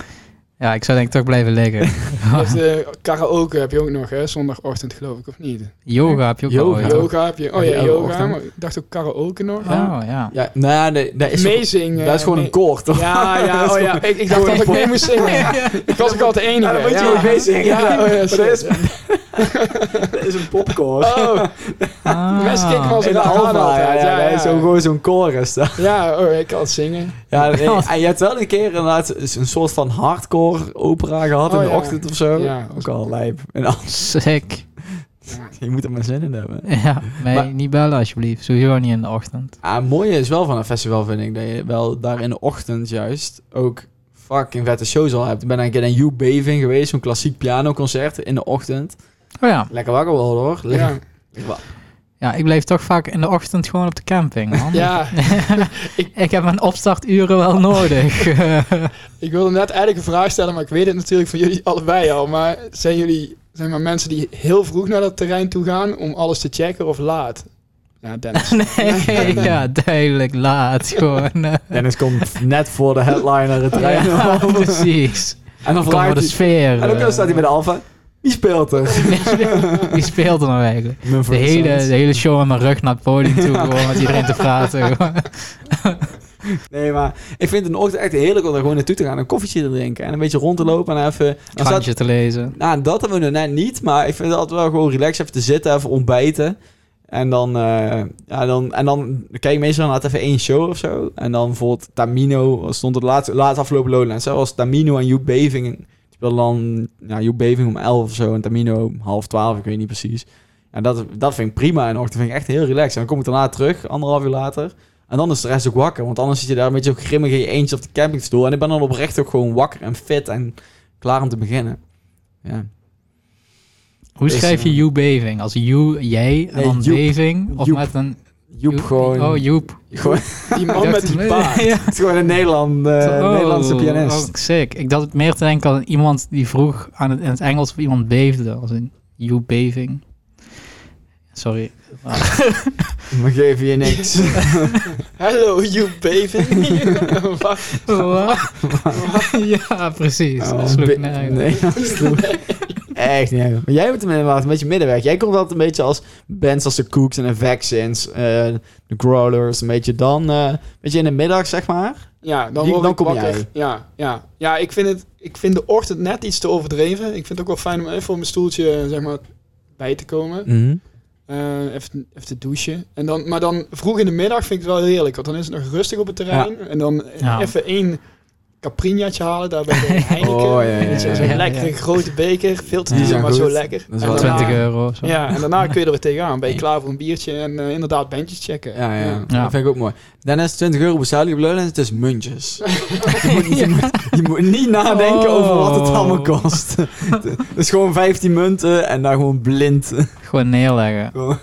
[SPEAKER 2] Ja, ik zou denk ik toch blijven liggen.
[SPEAKER 3] Dus, eh, karaoke heb je ook nog, hè? Zondagochtend geloof ik, of niet?
[SPEAKER 2] Yoga heb je ook
[SPEAKER 1] Yoga.
[SPEAKER 2] al. Ja.
[SPEAKER 3] Yoga heb je. Oh ja,
[SPEAKER 1] Elke
[SPEAKER 3] yoga.
[SPEAKER 1] ochtend.
[SPEAKER 3] Maar ik dacht ook karaoke nog.
[SPEAKER 2] Oh, ja.
[SPEAKER 1] Ja, nou, nee, dat is,
[SPEAKER 3] Amazing.
[SPEAKER 1] dat is gewoon een koor, toch?
[SPEAKER 3] Ja, ja, oh ja. Ik, ik dacht dat ik mee moest zingen. Ik was ook al de enige.
[SPEAKER 1] dan moet je
[SPEAKER 3] ja.
[SPEAKER 1] ook mee zingen.
[SPEAKER 3] Ja, oh ja,
[SPEAKER 1] dat is,
[SPEAKER 3] shit.
[SPEAKER 1] dat is een popkoor.
[SPEAKER 3] Oh,
[SPEAKER 2] Ah.
[SPEAKER 3] mensen kijken wel eens in
[SPEAKER 1] In
[SPEAKER 3] de
[SPEAKER 1] de
[SPEAKER 3] Alfa.
[SPEAKER 1] Alba, ja,
[SPEAKER 3] Ja, ja,
[SPEAKER 1] dat is zo- gewoon zo'n chorus. daar.
[SPEAKER 3] Ja, oh, ik kan het zingen.
[SPEAKER 1] Ja, nee, en je hebt wel een keer inderdaad een soort van hardcore opera gehad
[SPEAKER 3] Oh,
[SPEAKER 1] in de
[SPEAKER 3] ja.
[SPEAKER 1] ochtend of zo.
[SPEAKER 3] Ja.
[SPEAKER 1] Ook al lijp. En al-
[SPEAKER 2] Sick.
[SPEAKER 1] je moet er maar zin in hebben.
[SPEAKER 2] Ja, mij
[SPEAKER 1] Maar-
[SPEAKER 2] niet bellen alsjeblieft. Sowieso niet in de ochtend.
[SPEAKER 1] Ah, het mooie is wel van een festival, vind ik, dat je wel daar in de ochtend juist ook fucking vette shows al hebt. Ik ben een keer in U-Beving geweest, zo'n klassiek pianoconcert in de ochtend.
[SPEAKER 2] Oh ja.
[SPEAKER 1] Lekker wakker wel hoor.
[SPEAKER 3] Ja,
[SPEAKER 1] Ja.
[SPEAKER 2] Ja, ik blijf toch vaak in de ochtend gewoon op de camping, man.
[SPEAKER 3] ja.
[SPEAKER 2] Ik heb mijn opstarturen wel nodig.
[SPEAKER 3] ik wilde net eigenlijk een vraag stellen, maar ik weet het natuurlijk van jullie allebei al. Maar zijn jullie zijn maar mensen die heel vroeg naar dat terrein toe gaan om alles te checken of laat? Ja, Dennis.
[SPEAKER 2] nee, ja, duidelijk laat gewoon.
[SPEAKER 1] Dennis komt net voor de headliner het trein.
[SPEAKER 2] Ja, precies.
[SPEAKER 1] En dan
[SPEAKER 2] Kom voor
[SPEAKER 1] vraagt
[SPEAKER 2] de
[SPEAKER 1] hij...
[SPEAKER 2] sfeer. eh.
[SPEAKER 1] En ook dan staat hij bij de alfa. Wie speelt er?
[SPEAKER 2] Wie speelt er nou eigenlijk?
[SPEAKER 1] Mumford
[SPEAKER 2] De hele,
[SPEAKER 1] Sons.
[SPEAKER 2] de hele show aan mijn rug naar het podium toe, gewoon met iedereen te praten. gewoon.
[SPEAKER 1] Nee, maar ik vind het in de ochtend echt heerlijk om er gewoon naartoe te gaan. Een koffietje te drinken en een beetje rond te lopen. En even... Dan staat-
[SPEAKER 2] Krantje te lezen.
[SPEAKER 1] Nou, dat hebben we nu net niet. Maar ik vind het altijd wel gewoon relaxed even te zitten, even ontbijten. En dan, eh, ja, dan, en dan kijk ik meestal naar het even één show of zo. En dan bijvoorbeeld Tamino, stond het laatst, laatst afgelopen Lowlands. Hè, was Tamino en Joep Beving. Die speelden dan ja, Joep Beving om 11 of zo en Tamino om half 12, ik weet niet precies. En dat, dat vind ik prima en ochtend vind ik echt heel relaxed. En dan kom ik daarna terug, anderhalf uur later. En dan is de rest ook wakker. Want anders zit je daar een beetje grimmig in je eentje op de campingstoel. En ik ben dan oprecht ook gewoon wakker en fit en klaar om te beginnen. Ja.
[SPEAKER 2] Hoe
[SPEAKER 1] Dus,
[SPEAKER 2] schrijf je
[SPEAKER 1] eh,
[SPEAKER 2] you beving? Als you, jij, en
[SPEAKER 1] Nee,
[SPEAKER 2] dan
[SPEAKER 1] Joep.
[SPEAKER 2] beving? Of
[SPEAKER 1] Joep.
[SPEAKER 2] met een...
[SPEAKER 1] Joep
[SPEAKER 2] Joep-
[SPEAKER 1] gewoon.
[SPEAKER 2] Oh, Joep.
[SPEAKER 1] gewoon,
[SPEAKER 3] Die man met die paard.
[SPEAKER 2] Ja.
[SPEAKER 1] het is gewoon een Nederland, eh,
[SPEAKER 2] Oh,
[SPEAKER 1] Nederlandse pianist.
[SPEAKER 2] oh, sick. Ik dacht het meer te denken aan iemand die vroeg aan het, in het Engels of iemand beefde. Als een you beving. Sorry.
[SPEAKER 1] oh. We geven je niks.
[SPEAKER 3] Hello, you baby. Wacht.
[SPEAKER 2] ja, precies.
[SPEAKER 1] Oh,
[SPEAKER 2] dat sloeg
[SPEAKER 1] be-
[SPEAKER 2] nergens.
[SPEAKER 1] nee, dat sloeg echt niet. uit. Maar jij moet inderdaad een beetje middenweg. Jij komt altijd een beetje als bands als de Cooks en de Vaccines, eh, de Growlers, een beetje dan. eh weet je, in de middag zeg maar.
[SPEAKER 3] Ja, dan,
[SPEAKER 1] Die-
[SPEAKER 3] word
[SPEAKER 1] dan
[SPEAKER 3] ik
[SPEAKER 1] kom
[SPEAKER 3] wakker.
[SPEAKER 1] jij.
[SPEAKER 3] Ja, ja. ja ik, vind het, ik vind de ochtend net iets te overdreven. Ik vind het ook wel fijn om even op mijn stoeltje zeg maar, bij te komen.
[SPEAKER 1] Mm. Mhm.
[SPEAKER 3] Eh, even, even te douchen. En dan, maar dan vroeg in de middag vind ik het wel heerlijk. Want dan is het nog rustig op het terrein. En dan
[SPEAKER 2] Ja.
[SPEAKER 3] even één caprinaatje halen. Daar bij de Heineken.
[SPEAKER 1] Oh, ja, ja,
[SPEAKER 3] Weet je,
[SPEAKER 1] ja,
[SPEAKER 3] Zo'n
[SPEAKER 2] ja.
[SPEAKER 3] lekkere
[SPEAKER 2] Ja.
[SPEAKER 3] grote beker. Veel te
[SPEAKER 1] Die
[SPEAKER 3] duur,
[SPEAKER 1] zijn
[SPEAKER 3] maar
[SPEAKER 1] goed.
[SPEAKER 3] zo lekker.
[SPEAKER 1] Dat is
[SPEAKER 3] En
[SPEAKER 1] wel
[SPEAKER 3] daarna-
[SPEAKER 2] 20 euro of zo.
[SPEAKER 3] Ja, en daarna kun je er weer tegenaan. Ben je klaar voor een biertje en eh, inderdaad bandjes checken.
[SPEAKER 1] Ja, ja,
[SPEAKER 2] Ja.
[SPEAKER 1] Dat vind ik ook mooi. Dennis, 20 euro bezuinig op Lowlands, het is muntjes. je, moet, je moet- je moet niet nadenken over wat het
[SPEAKER 2] Oh.
[SPEAKER 1] allemaal kost. Het is gewoon 15 munten en dan gewoon blind.
[SPEAKER 2] Gewoon neerleggen.
[SPEAKER 1] Gewoon-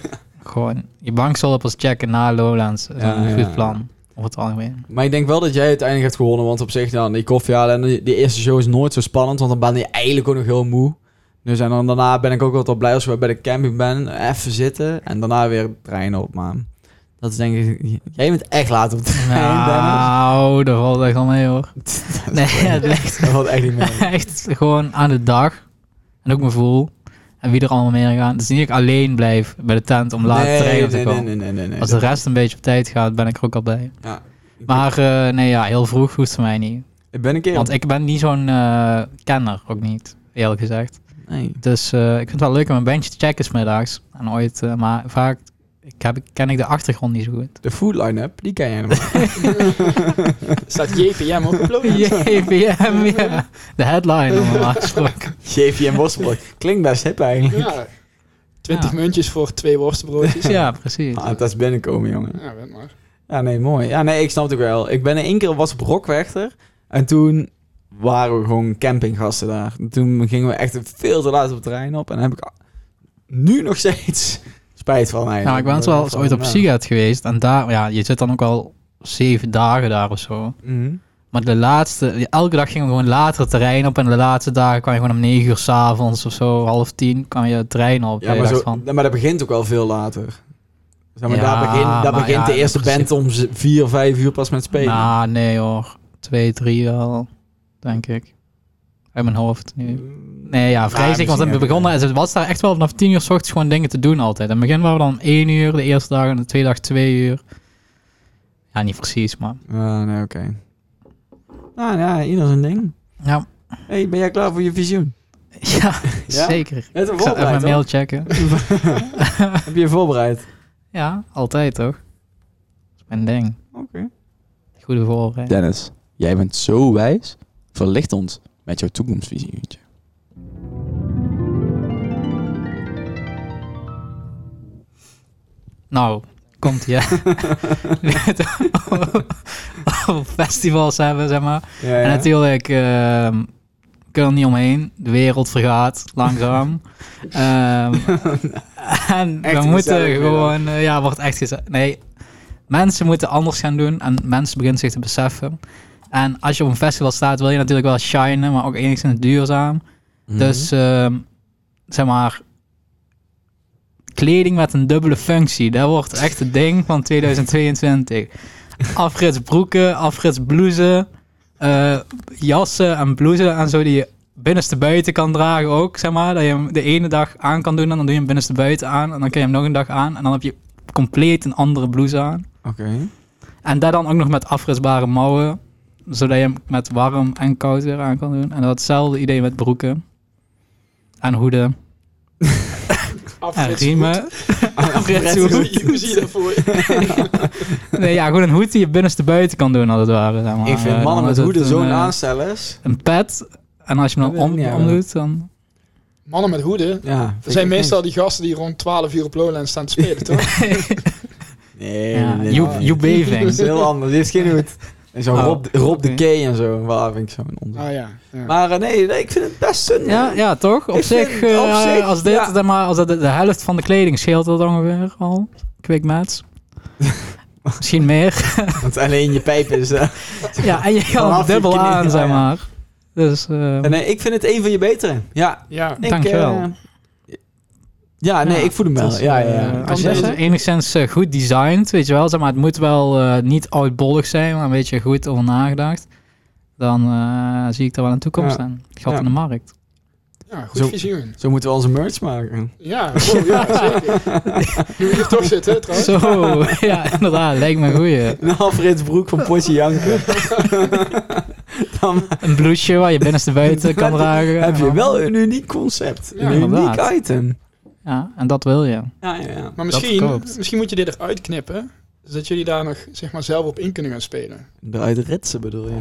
[SPEAKER 2] Gewoon je bankzolpers checken na Lowlands. Dat is
[SPEAKER 1] Ja,
[SPEAKER 2] een
[SPEAKER 1] ja,
[SPEAKER 2] goed
[SPEAKER 1] ja.
[SPEAKER 2] plan. Over het algemeen.
[SPEAKER 1] Maar ik denk wel dat jij uiteindelijk hebt gewonnen. Want op zich, dan die koffie halen en die, die eerste show is nooit zo spannend. Want dan ben je eigenlijk ook nog heel moe. Dus en dan daarna ben ik ook altijd blij als we bij de camping ben. Even zitten en daarna weer treinen op, man. Dat is denk ik... Jij bent echt laat op de trein, Dennis.
[SPEAKER 2] Nou, dat valt echt al mee hoor. Nee, het ligt
[SPEAKER 1] Dat valt echt niet mee.
[SPEAKER 2] echt gewoon aan de dag. En ook mijn voel. En wie er allemaal mee gaan. Het is niet dat ik alleen blijf bij de tent om laat
[SPEAKER 1] nee,
[SPEAKER 2] te trainen te
[SPEAKER 1] nee,
[SPEAKER 2] komen.
[SPEAKER 1] nee, nee, nee, nee, nee.
[SPEAKER 2] Als de rest een beetje op tijd gaat, ben ik er ook al bij.
[SPEAKER 1] Ja.
[SPEAKER 2] Maar eh, nee, ja, heel vroeg hoeft voor mij niet.
[SPEAKER 1] Ik ben een keer...
[SPEAKER 2] Want ik ben niet zo'n eh, kenner, ook niet, eerlijk gezegd.
[SPEAKER 1] Nee.
[SPEAKER 2] Dus eh, ik vind het wel leuk om een bandje te checken smiddags. En ooit, eh, maar vaak Ik heb, ken ik de achtergrond niet zo goed.
[SPEAKER 1] De food line-up, die ken jij nog.
[SPEAKER 3] Staat JPM op de plooien.
[SPEAKER 2] JVM, ja. De headline normaal gesproken.
[SPEAKER 1] JVM Worstenbrood. Klinkt best hip eigenlijk.
[SPEAKER 3] Ja. 20
[SPEAKER 2] Ja.
[SPEAKER 3] muntjes voor twee worstenbroodjes.
[SPEAKER 2] Ja, precies.
[SPEAKER 1] Ah, dat is binnenkomen, jongen.
[SPEAKER 3] Ja, weet maar.
[SPEAKER 1] Ja, nee, mooi. Ja, nee, ik snap het ook wel. Ik ben in één keer was op Rockwerchter. En toen waren we gewoon campinggasten daar. Toen gingen we echt veel te laat op het terrein op. En daar heb ik nu nog steeds spijt van eigenlijk.
[SPEAKER 2] Nou, ik ben wel eens ooit op Sigat geweest. En daar, ja, je zit dan ook al zeven dagen daar of zo.
[SPEAKER 1] Mhm.
[SPEAKER 2] Maar de laatste, elke dag gingen we gewoon later het terrein op. En de laatste dagen kwam je gewoon om negen uur s'avonds of zo, half tien, kwam je het terrein op.
[SPEAKER 1] Ja,
[SPEAKER 2] En je
[SPEAKER 1] maar,
[SPEAKER 2] dacht
[SPEAKER 1] zo,
[SPEAKER 2] van,
[SPEAKER 1] maar dat begint ook wel veel later. Zeg maar,
[SPEAKER 2] Ja,
[SPEAKER 1] daar, begin, daar
[SPEAKER 2] maar
[SPEAKER 1] begint
[SPEAKER 2] ja,
[SPEAKER 1] de
[SPEAKER 2] in
[SPEAKER 1] eerste band
[SPEAKER 2] principe-
[SPEAKER 1] om z- vier, vijf uur pas met spelen.
[SPEAKER 2] nou, nee hoor. Twee, drie wel, denk ik. Uit mijn hoofd nu. Nee, ja, vrij
[SPEAKER 1] Ja,
[SPEAKER 2] zeker. Want we
[SPEAKER 1] Ah, misschien
[SPEAKER 2] begonnen, en het was daar echt wel vanaf tien uur s ochtends gewoon dingen te doen altijd. In het begin waren we dan om één uur, de eerste dag en de tweede dag twee uur. Ja, niet precies, maar...
[SPEAKER 1] Ah, nee, oké. Nou ja, ieder zijn ding.
[SPEAKER 2] Ja,
[SPEAKER 1] hey, ben jij klaar voor je visioen?
[SPEAKER 2] ja,
[SPEAKER 1] Ja?
[SPEAKER 2] zeker.
[SPEAKER 1] Heb je
[SPEAKER 2] Ik zal even mijn mail checken.
[SPEAKER 1] Heb je je voorbereid?
[SPEAKER 2] Ja, altijd toch? Dat is mijn ding.
[SPEAKER 1] Oké.
[SPEAKER 2] Goede voorbereiding.
[SPEAKER 6] Dennis, jij bent zo wijs. Verlicht ons met jouw toekomstvisie.
[SPEAKER 2] Nou, komt ie. hè. Over Festivals hebben, zeg maar.
[SPEAKER 1] Ja, ja.
[SPEAKER 2] En natuurlijk, ehm we kunnen er niet omheen. De wereld vergaat langzaam. Ehm, en
[SPEAKER 1] Echt
[SPEAKER 2] we moeten
[SPEAKER 1] gezellig weer
[SPEAKER 2] gewoon, eh, ja, wordt echt gezegd. Nee, mensen moeten anders gaan doen en mensen beginnen zich te beseffen. En als je op een festival staat, wil je natuurlijk wel shinen, maar ook enigszins duurzaam.
[SPEAKER 1] Mhm.
[SPEAKER 2] Dus ehm, zeg maar, kleding met een dubbele functie, dat wordt echt het ding van 2022. Afrits broeken, afrits blouses, eh, jassen en blouses en zo die je binnenste buiten kan dragen ook, zeg maar. Dat je hem de ene dag aan kan doen en dan doe je hem binnenste buiten aan en dan kun je hem nog een dag aan en dan heb je compleet een andere blouse aan.
[SPEAKER 1] Oké.
[SPEAKER 2] En daar dan ook nog met afrisbare mouwen, zodat je hem met warm en koud weer aan kan doen. En datzelfde idee met broeken en hoeden en
[SPEAKER 3] Afrit
[SPEAKER 2] riemen.
[SPEAKER 1] Ah,
[SPEAKER 3] Hoe zie- hoe zie je dat voor je?
[SPEAKER 2] nee, ja, gewoon een hoed die je binnenste buiten kan doen, als het ware. Zeg maar.
[SPEAKER 1] Ik vind
[SPEAKER 2] Eh, dan
[SPEAKER 1] mannen met
[SPEAKER 2] is het
[SPEAKER 1] hoeden
[SPEAKER 2] een,
[SPEAKER 1] zo'n
[SPEAKER 2] eh,
[SPEAKER 1] aanstellers.
[SPEAKER 2] Een pet. En als je
[SPEAKER 1] Dat
[SPEAKER 2] hem dan
[SPEAKER 1] weet
[SPEAKER 2] om,
[SPEAKER 1] ik niet,
[SPEAKER 2] omdoet, dan...
[SPEAKER 3] Mannen met hoeden.
[SPEAKER 1] Ja, vind
[SPEAKER 3] Dat
[SPEAKER 1] ik
[SPEAKER 3] zijn
[SPEAKER 1] echt
[SPEAKER 3] meestal die gasten die rond 12 uur op Lowlands staan te spelen, toch?
[SPEAKER 1] niks. Nee,
[SPEAKER 2] ja,
[SPEAKER 1] nee,
[SPEAKER 2] you,
[SPEAKER 1] nee.
[SPEAKER 2] you
[SPEAKER 1] Dat is
[SPEAKER 2] bathing.
[SPEAKER 1] heel anders. Dit is geen hoed. En zo
[SPEAKER 2] Oh,
[SPEAKER 1] Rob, Rob de
[SPEAKER 2] oké.
[SPEAKER 1] Key en zo. Waar vind ik zo'n onzin.
[SPEAKER 3] Ah ja. ja.
[SPEAKER 1] Maar eh, nee, nee, ik vind het best zin.
[SPEAKER 2] Ja, ja, toch? Op
[SPEAKER 1] Ik
[SPEAKER 2] zich,
[SPEAKER 1] vind het op
[SPEAKER 2] eh,
[SPEAKER 1] zich,
[SPEAKER 2] als dit,
[SPEAKER 1] ja.
[SPEAKER 2] zeg maar, als dat de, de helft van de kleding scheelt dat ongeveer al. Quick match. Misschien meer.
[SPEAKER 1] Want alleen je pijp is... eh,
[SPEAKER 2] ja, en je kan
[SPEAKER 1] Vanaf
[SPEAKER 2] het
[SPEAKER 1] je
[SPEAKER 2] dubbel
[SPEAKER 1] knie,
[SPEAKER 2] aan,
[SPEAKER 1] ja, ja.
[SPEAKER 2] zeg maar. Dus, eh,
[SPEAKER 1] nee, ik vind het een van je betere. Ja,
[SPEAKER 3] ja.
[SPEAKER 1] ik,
[SPEAKER 2] Dankjewel.
[SPEAKER 1] eh, ja, nee,
[SPEAKER 2] Ja,
[SPEAKER 1] ik voel hem wel.
[SPEAKER 2] Dus,
[SPEAKER 1] ja, ja,
[SPEAKER 2] eh,
[SPEAKER 1] ja.
[SPEAKER 2] Als je
[SPEAKER 1] jij
[SPEAKER 2] het
[SPEAKER 1] zegt-
[SPEAKER 2] enigszins eh, goed designed, weet je wel, zeg maar, het moet wel eh, niet oudbollig zijn, maar een beetje goed over nagedacht. Dan eh, zie ik er wel een toekomst
[SPEAKER 1] Ja.
[SPEAKER 2] aan. Gat
[SPEAKER 1] Ja.
[SPEAKER 2] in de markt.
[SPEAKER 3] Ja, goed
[SPEAKER 1] Zo-
[SPEAKER 3] visioen.
[SPEAKER 1] Zo moeten we onze merch maken.
[SPEAKER 3] Ja, wow, ja, zeker. Nu we hier toch zitten, hè, trouwens.
[SPEAKER 2] Zo, ja, inderdaad, lijkt me een goeie.
[SPEAKER 1] Een Alfreds Nou, broek van Potje Janker. Dan
[SPEAKER 2] Een blouseje waar je binnenste buiten kan dragen.
[SPEAKER 1] heb je wel een uniek concept.
[SPEAKER 3] Ja,
[SPEAKER 1] een uniek
[SPEAKER 2] inderdaad.
[SPEAKER 1] item.
[SPEAKER 2] Ja, en dat wil je.
[SPEAKER 1] Ja, ja, ja.
[SPEAKER 3] Maar
[SPEAKER 2] Dat
[SPEAKER 3] misschien,
[SPEAKER 2] verkoopt.
[SPEAKER 3] misschien moet je dit eruit knippen, zodat jullie daar nog zeg maar, zelf op in kunnen gaan spelen.
[SPEAKER 1] Eruit ritsen bedoel je?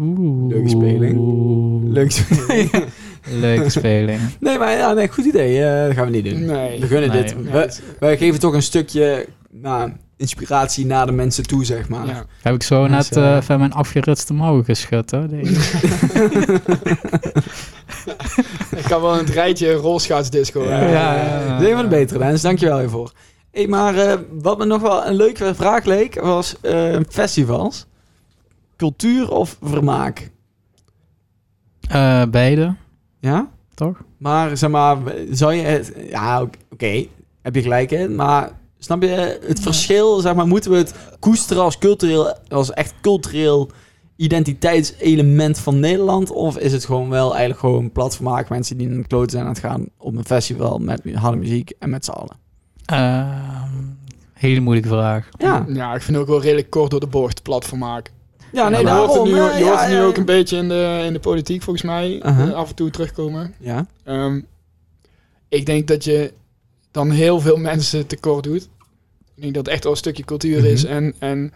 [SPEAKER 2] Oeh.
[SPEAKER 1] Leuke speling. Leuk spelen.
[SPEAKER 2] Leuke speling.
[SPEAKER 1] nee, maar ja, nee, goed idee. Eh, dat gaan we niet doen.
[SPEAKER 3] Nee.
[SPEAKER 1] We gunnen
[SPEAKER 2] Nee.
[SPEAKER 1] dit.
[SPEAKER 3] Nee,
[SPEAKER 1] We,
[SPEAKER 3] dat-
[SPEAKER 1] wij geven toch een stukje nou, inspiratie naar de mensen toe, zeg maar.
[SPEAKER 3] ja.
[SPEAKER 2] Heb ik zo
[SPEAKER 1] Dat
[SPEAKER 2] net
[SPEAKER 1] is, eh,
[SPEAKER 2] eh, van mijn afgeritste mouwen geschud, hoor. deze.
[SPEAKER 3] Ik kan wel in het rijtje rolschaatsdisco.
[SPEAKER 1] Ja,
[SPEAKER 3] hè.
[SPEAKER 2] ja, ja.
[SPEAKER 1] Eh, Dat is een van de betere, Dennis. Dankjewel hiervoor. Hey, maar eh, wat me nog wel een leuke vraag leek, was eh, festivals. Cultuur of vermaak?
[SPEAKER 2] Eh, beide,
[SPEAKER 1] Ja?
[SPEAKER 2] toch?
[SPEAKER 1] Maar zeg maar, zou je het... Ja, oké. oké, heb je gelijk in. Maar snap je het verschil? Zeg maar, moeten we het koesteren als cultureel... Als echt cultureel identiteitselement van Nederland? Of is het gewoon wel eigenlijk gewoon plat vermaak? Mensen die in de kloten zijn aan het gaan op een festival met mu- harde muziek en met z'n allen.
[SPEAKER 2] Ehm, hele moeilijke vraag.
[SPEAKER 1] Ja,
[SPEAKER 3] Ja, ik vind ook wel redelijk kort door de bocht platform maken.
[SPEAKER 1] ja
[SPEAKER 3] Nou,
[SPEAKER 1] nee,
[SPEAKER 3] je hoort het
[SPEAKER 1] daarom.
[SPEAKER 3] nu,
[SPEAKER 1] ja,
[SPEAKER 3] je hoort
[SPEAKER 1] ja,
[SPEAKER 3] het nu
[SPEAKER 1] ja.
[SPEAKER 3] ook een beetje in de, in de politiek, volgens mij.
[SPEAKER 1] Uh-huh.
[SPEAKER 3] eh, Af en toe terugkomen.
[SPEAKER 1] Ja,
[SPEAKER 3] Ehm, ik denk dat je dan heel veel mensen tekort doet. Ik denk dat het echt wel een stukje cultuur is
[SPEAKER 1] Mm-hmm.
[SPEAKER 3] en, en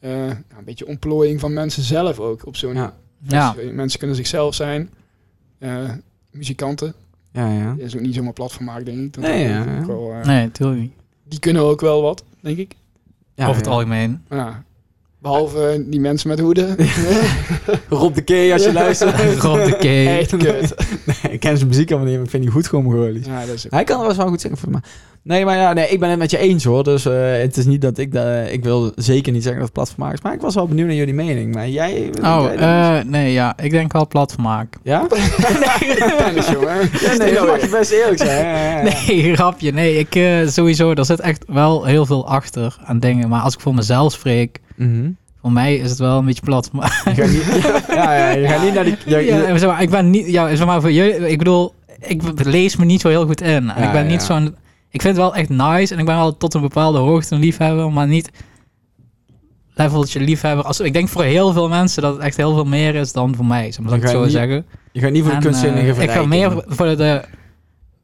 [SPEAKER 3] eh, nou, een beetje ontplooiing van mensen zelf ook op zo'n
[SPEAKER 1] Ja.
[SPEAKER 2] Ja,
[SPEAKER 3] Mensen- Mensen kunnen zichzelf zijn. Eh, muzikanten,
[SPEAKER 1] Ja, ja.
[SPEAKER 3] dat is ook niet zomaar plat van maken, denk ik. Dat-
[SPEAKER 1] Nee,
[SPEAKER 3] dat-
[SPEAKER 1] ja,
[SPEAKER 3] dat
[SPEAKER 1] ja.
[SPEAKER 3] ook wel, eh,
[SPEAKER 2] nee, tuurlijk niet.
[SPEAKER 3] Die kunnen ook wel wat, denk ik.
[SPEAKER 1] ja
[SPEAKER 2] Over het
[SPEAKER 1] ja.
[SPEAKER 2] algemeen.
[SPEAKER 3] Ja. Behalve eh, die mensen met hoeden.
[SPEAKER 1] Rob de Kee, als je
[SPEAKER 3] Ja.
[SPEAKER 1] luistert.
[SPEAKER 2] Rob de Kee.
[SPEAKER 3] Echt kut.
[SPEAKER 1] Nee, ik ken zijn muziek allemaal niet, maar ik vind die goed gewoon Mongolisch.
[SPEAKER 3] Ja, dat is ook-
[SPEAKER 1] Hij kan er best wel goed zingen voor mij. Nee, maar ja, nee, ik ben het met je eens hoor. Dus eh, het is niet dat ik... da- ik wil zeker niet zeggen dat het platform is. Maar ik was wel benieuwd naar jullie mening. Maar jij...
[SPEAKER 2] Oh,
[SPEAKER 1] jij dan?
[SPEAKER 2] eh, nee, ja. Ik denk wel plat van maken.
[SPEAKER 1] Ja?
[SPEAKER 3] Tennis, jongen.
[SPEAKER 1] Ja, nee, dat mag je best eerlijk zijn. Ja, ja, ja.
[SPEAKER 2] Nee, grapje. Nee, ik eh, sowieso, er zit echt wel heel veel achter aan dingen. Maar als ik voor mezelf spreek,
[SPEAKER 1] Mhm.
[SPEAKER 2] voor mij is het wel een beetje plat. Maar,
[SPEAKER 1] Je gaat niet, ja, ja, je gaat niet naar die...
[SPEAKER 2] ja,
[SPEAKER 1] Ja, ja,
[SPEAKER 2] zeg maar, ik ben niet, ja, zeg maar voor jullie, ik bedoel, ik lees me niet zo heel goed in. En
[SPEAKER 1] Ja,
[SPEAKER 2] ik ben
[SPEAKER 1] ja.
[SPEAKER 2] niet zo'n, ik vind het wel echt nice en ik ben wel tot een bepaalde hoogte een liefhebber, maar niet leveltje liefhebber. Als, ik denk voor heel veel mensen dat het echt heel veel meer is dan voor mij, zeg
[SPEAKER 1] Dan
[SPEAKER 2] maar, zal ik
[SPEAKER 1] ga
[SPEAKER 2] het zo
[SPEAKER 1] je niet
[SPEAKER 2] zeggen.
[SPEAKER 1] je gaat niet voor de
[SPEAKER 2] En,
[SPEAKER 1] kunstzinnige
[SPEAKER 2] eh, Ik ga
[SPEAKER 1] verrijking.
[SPEAKER 2] meer voor de,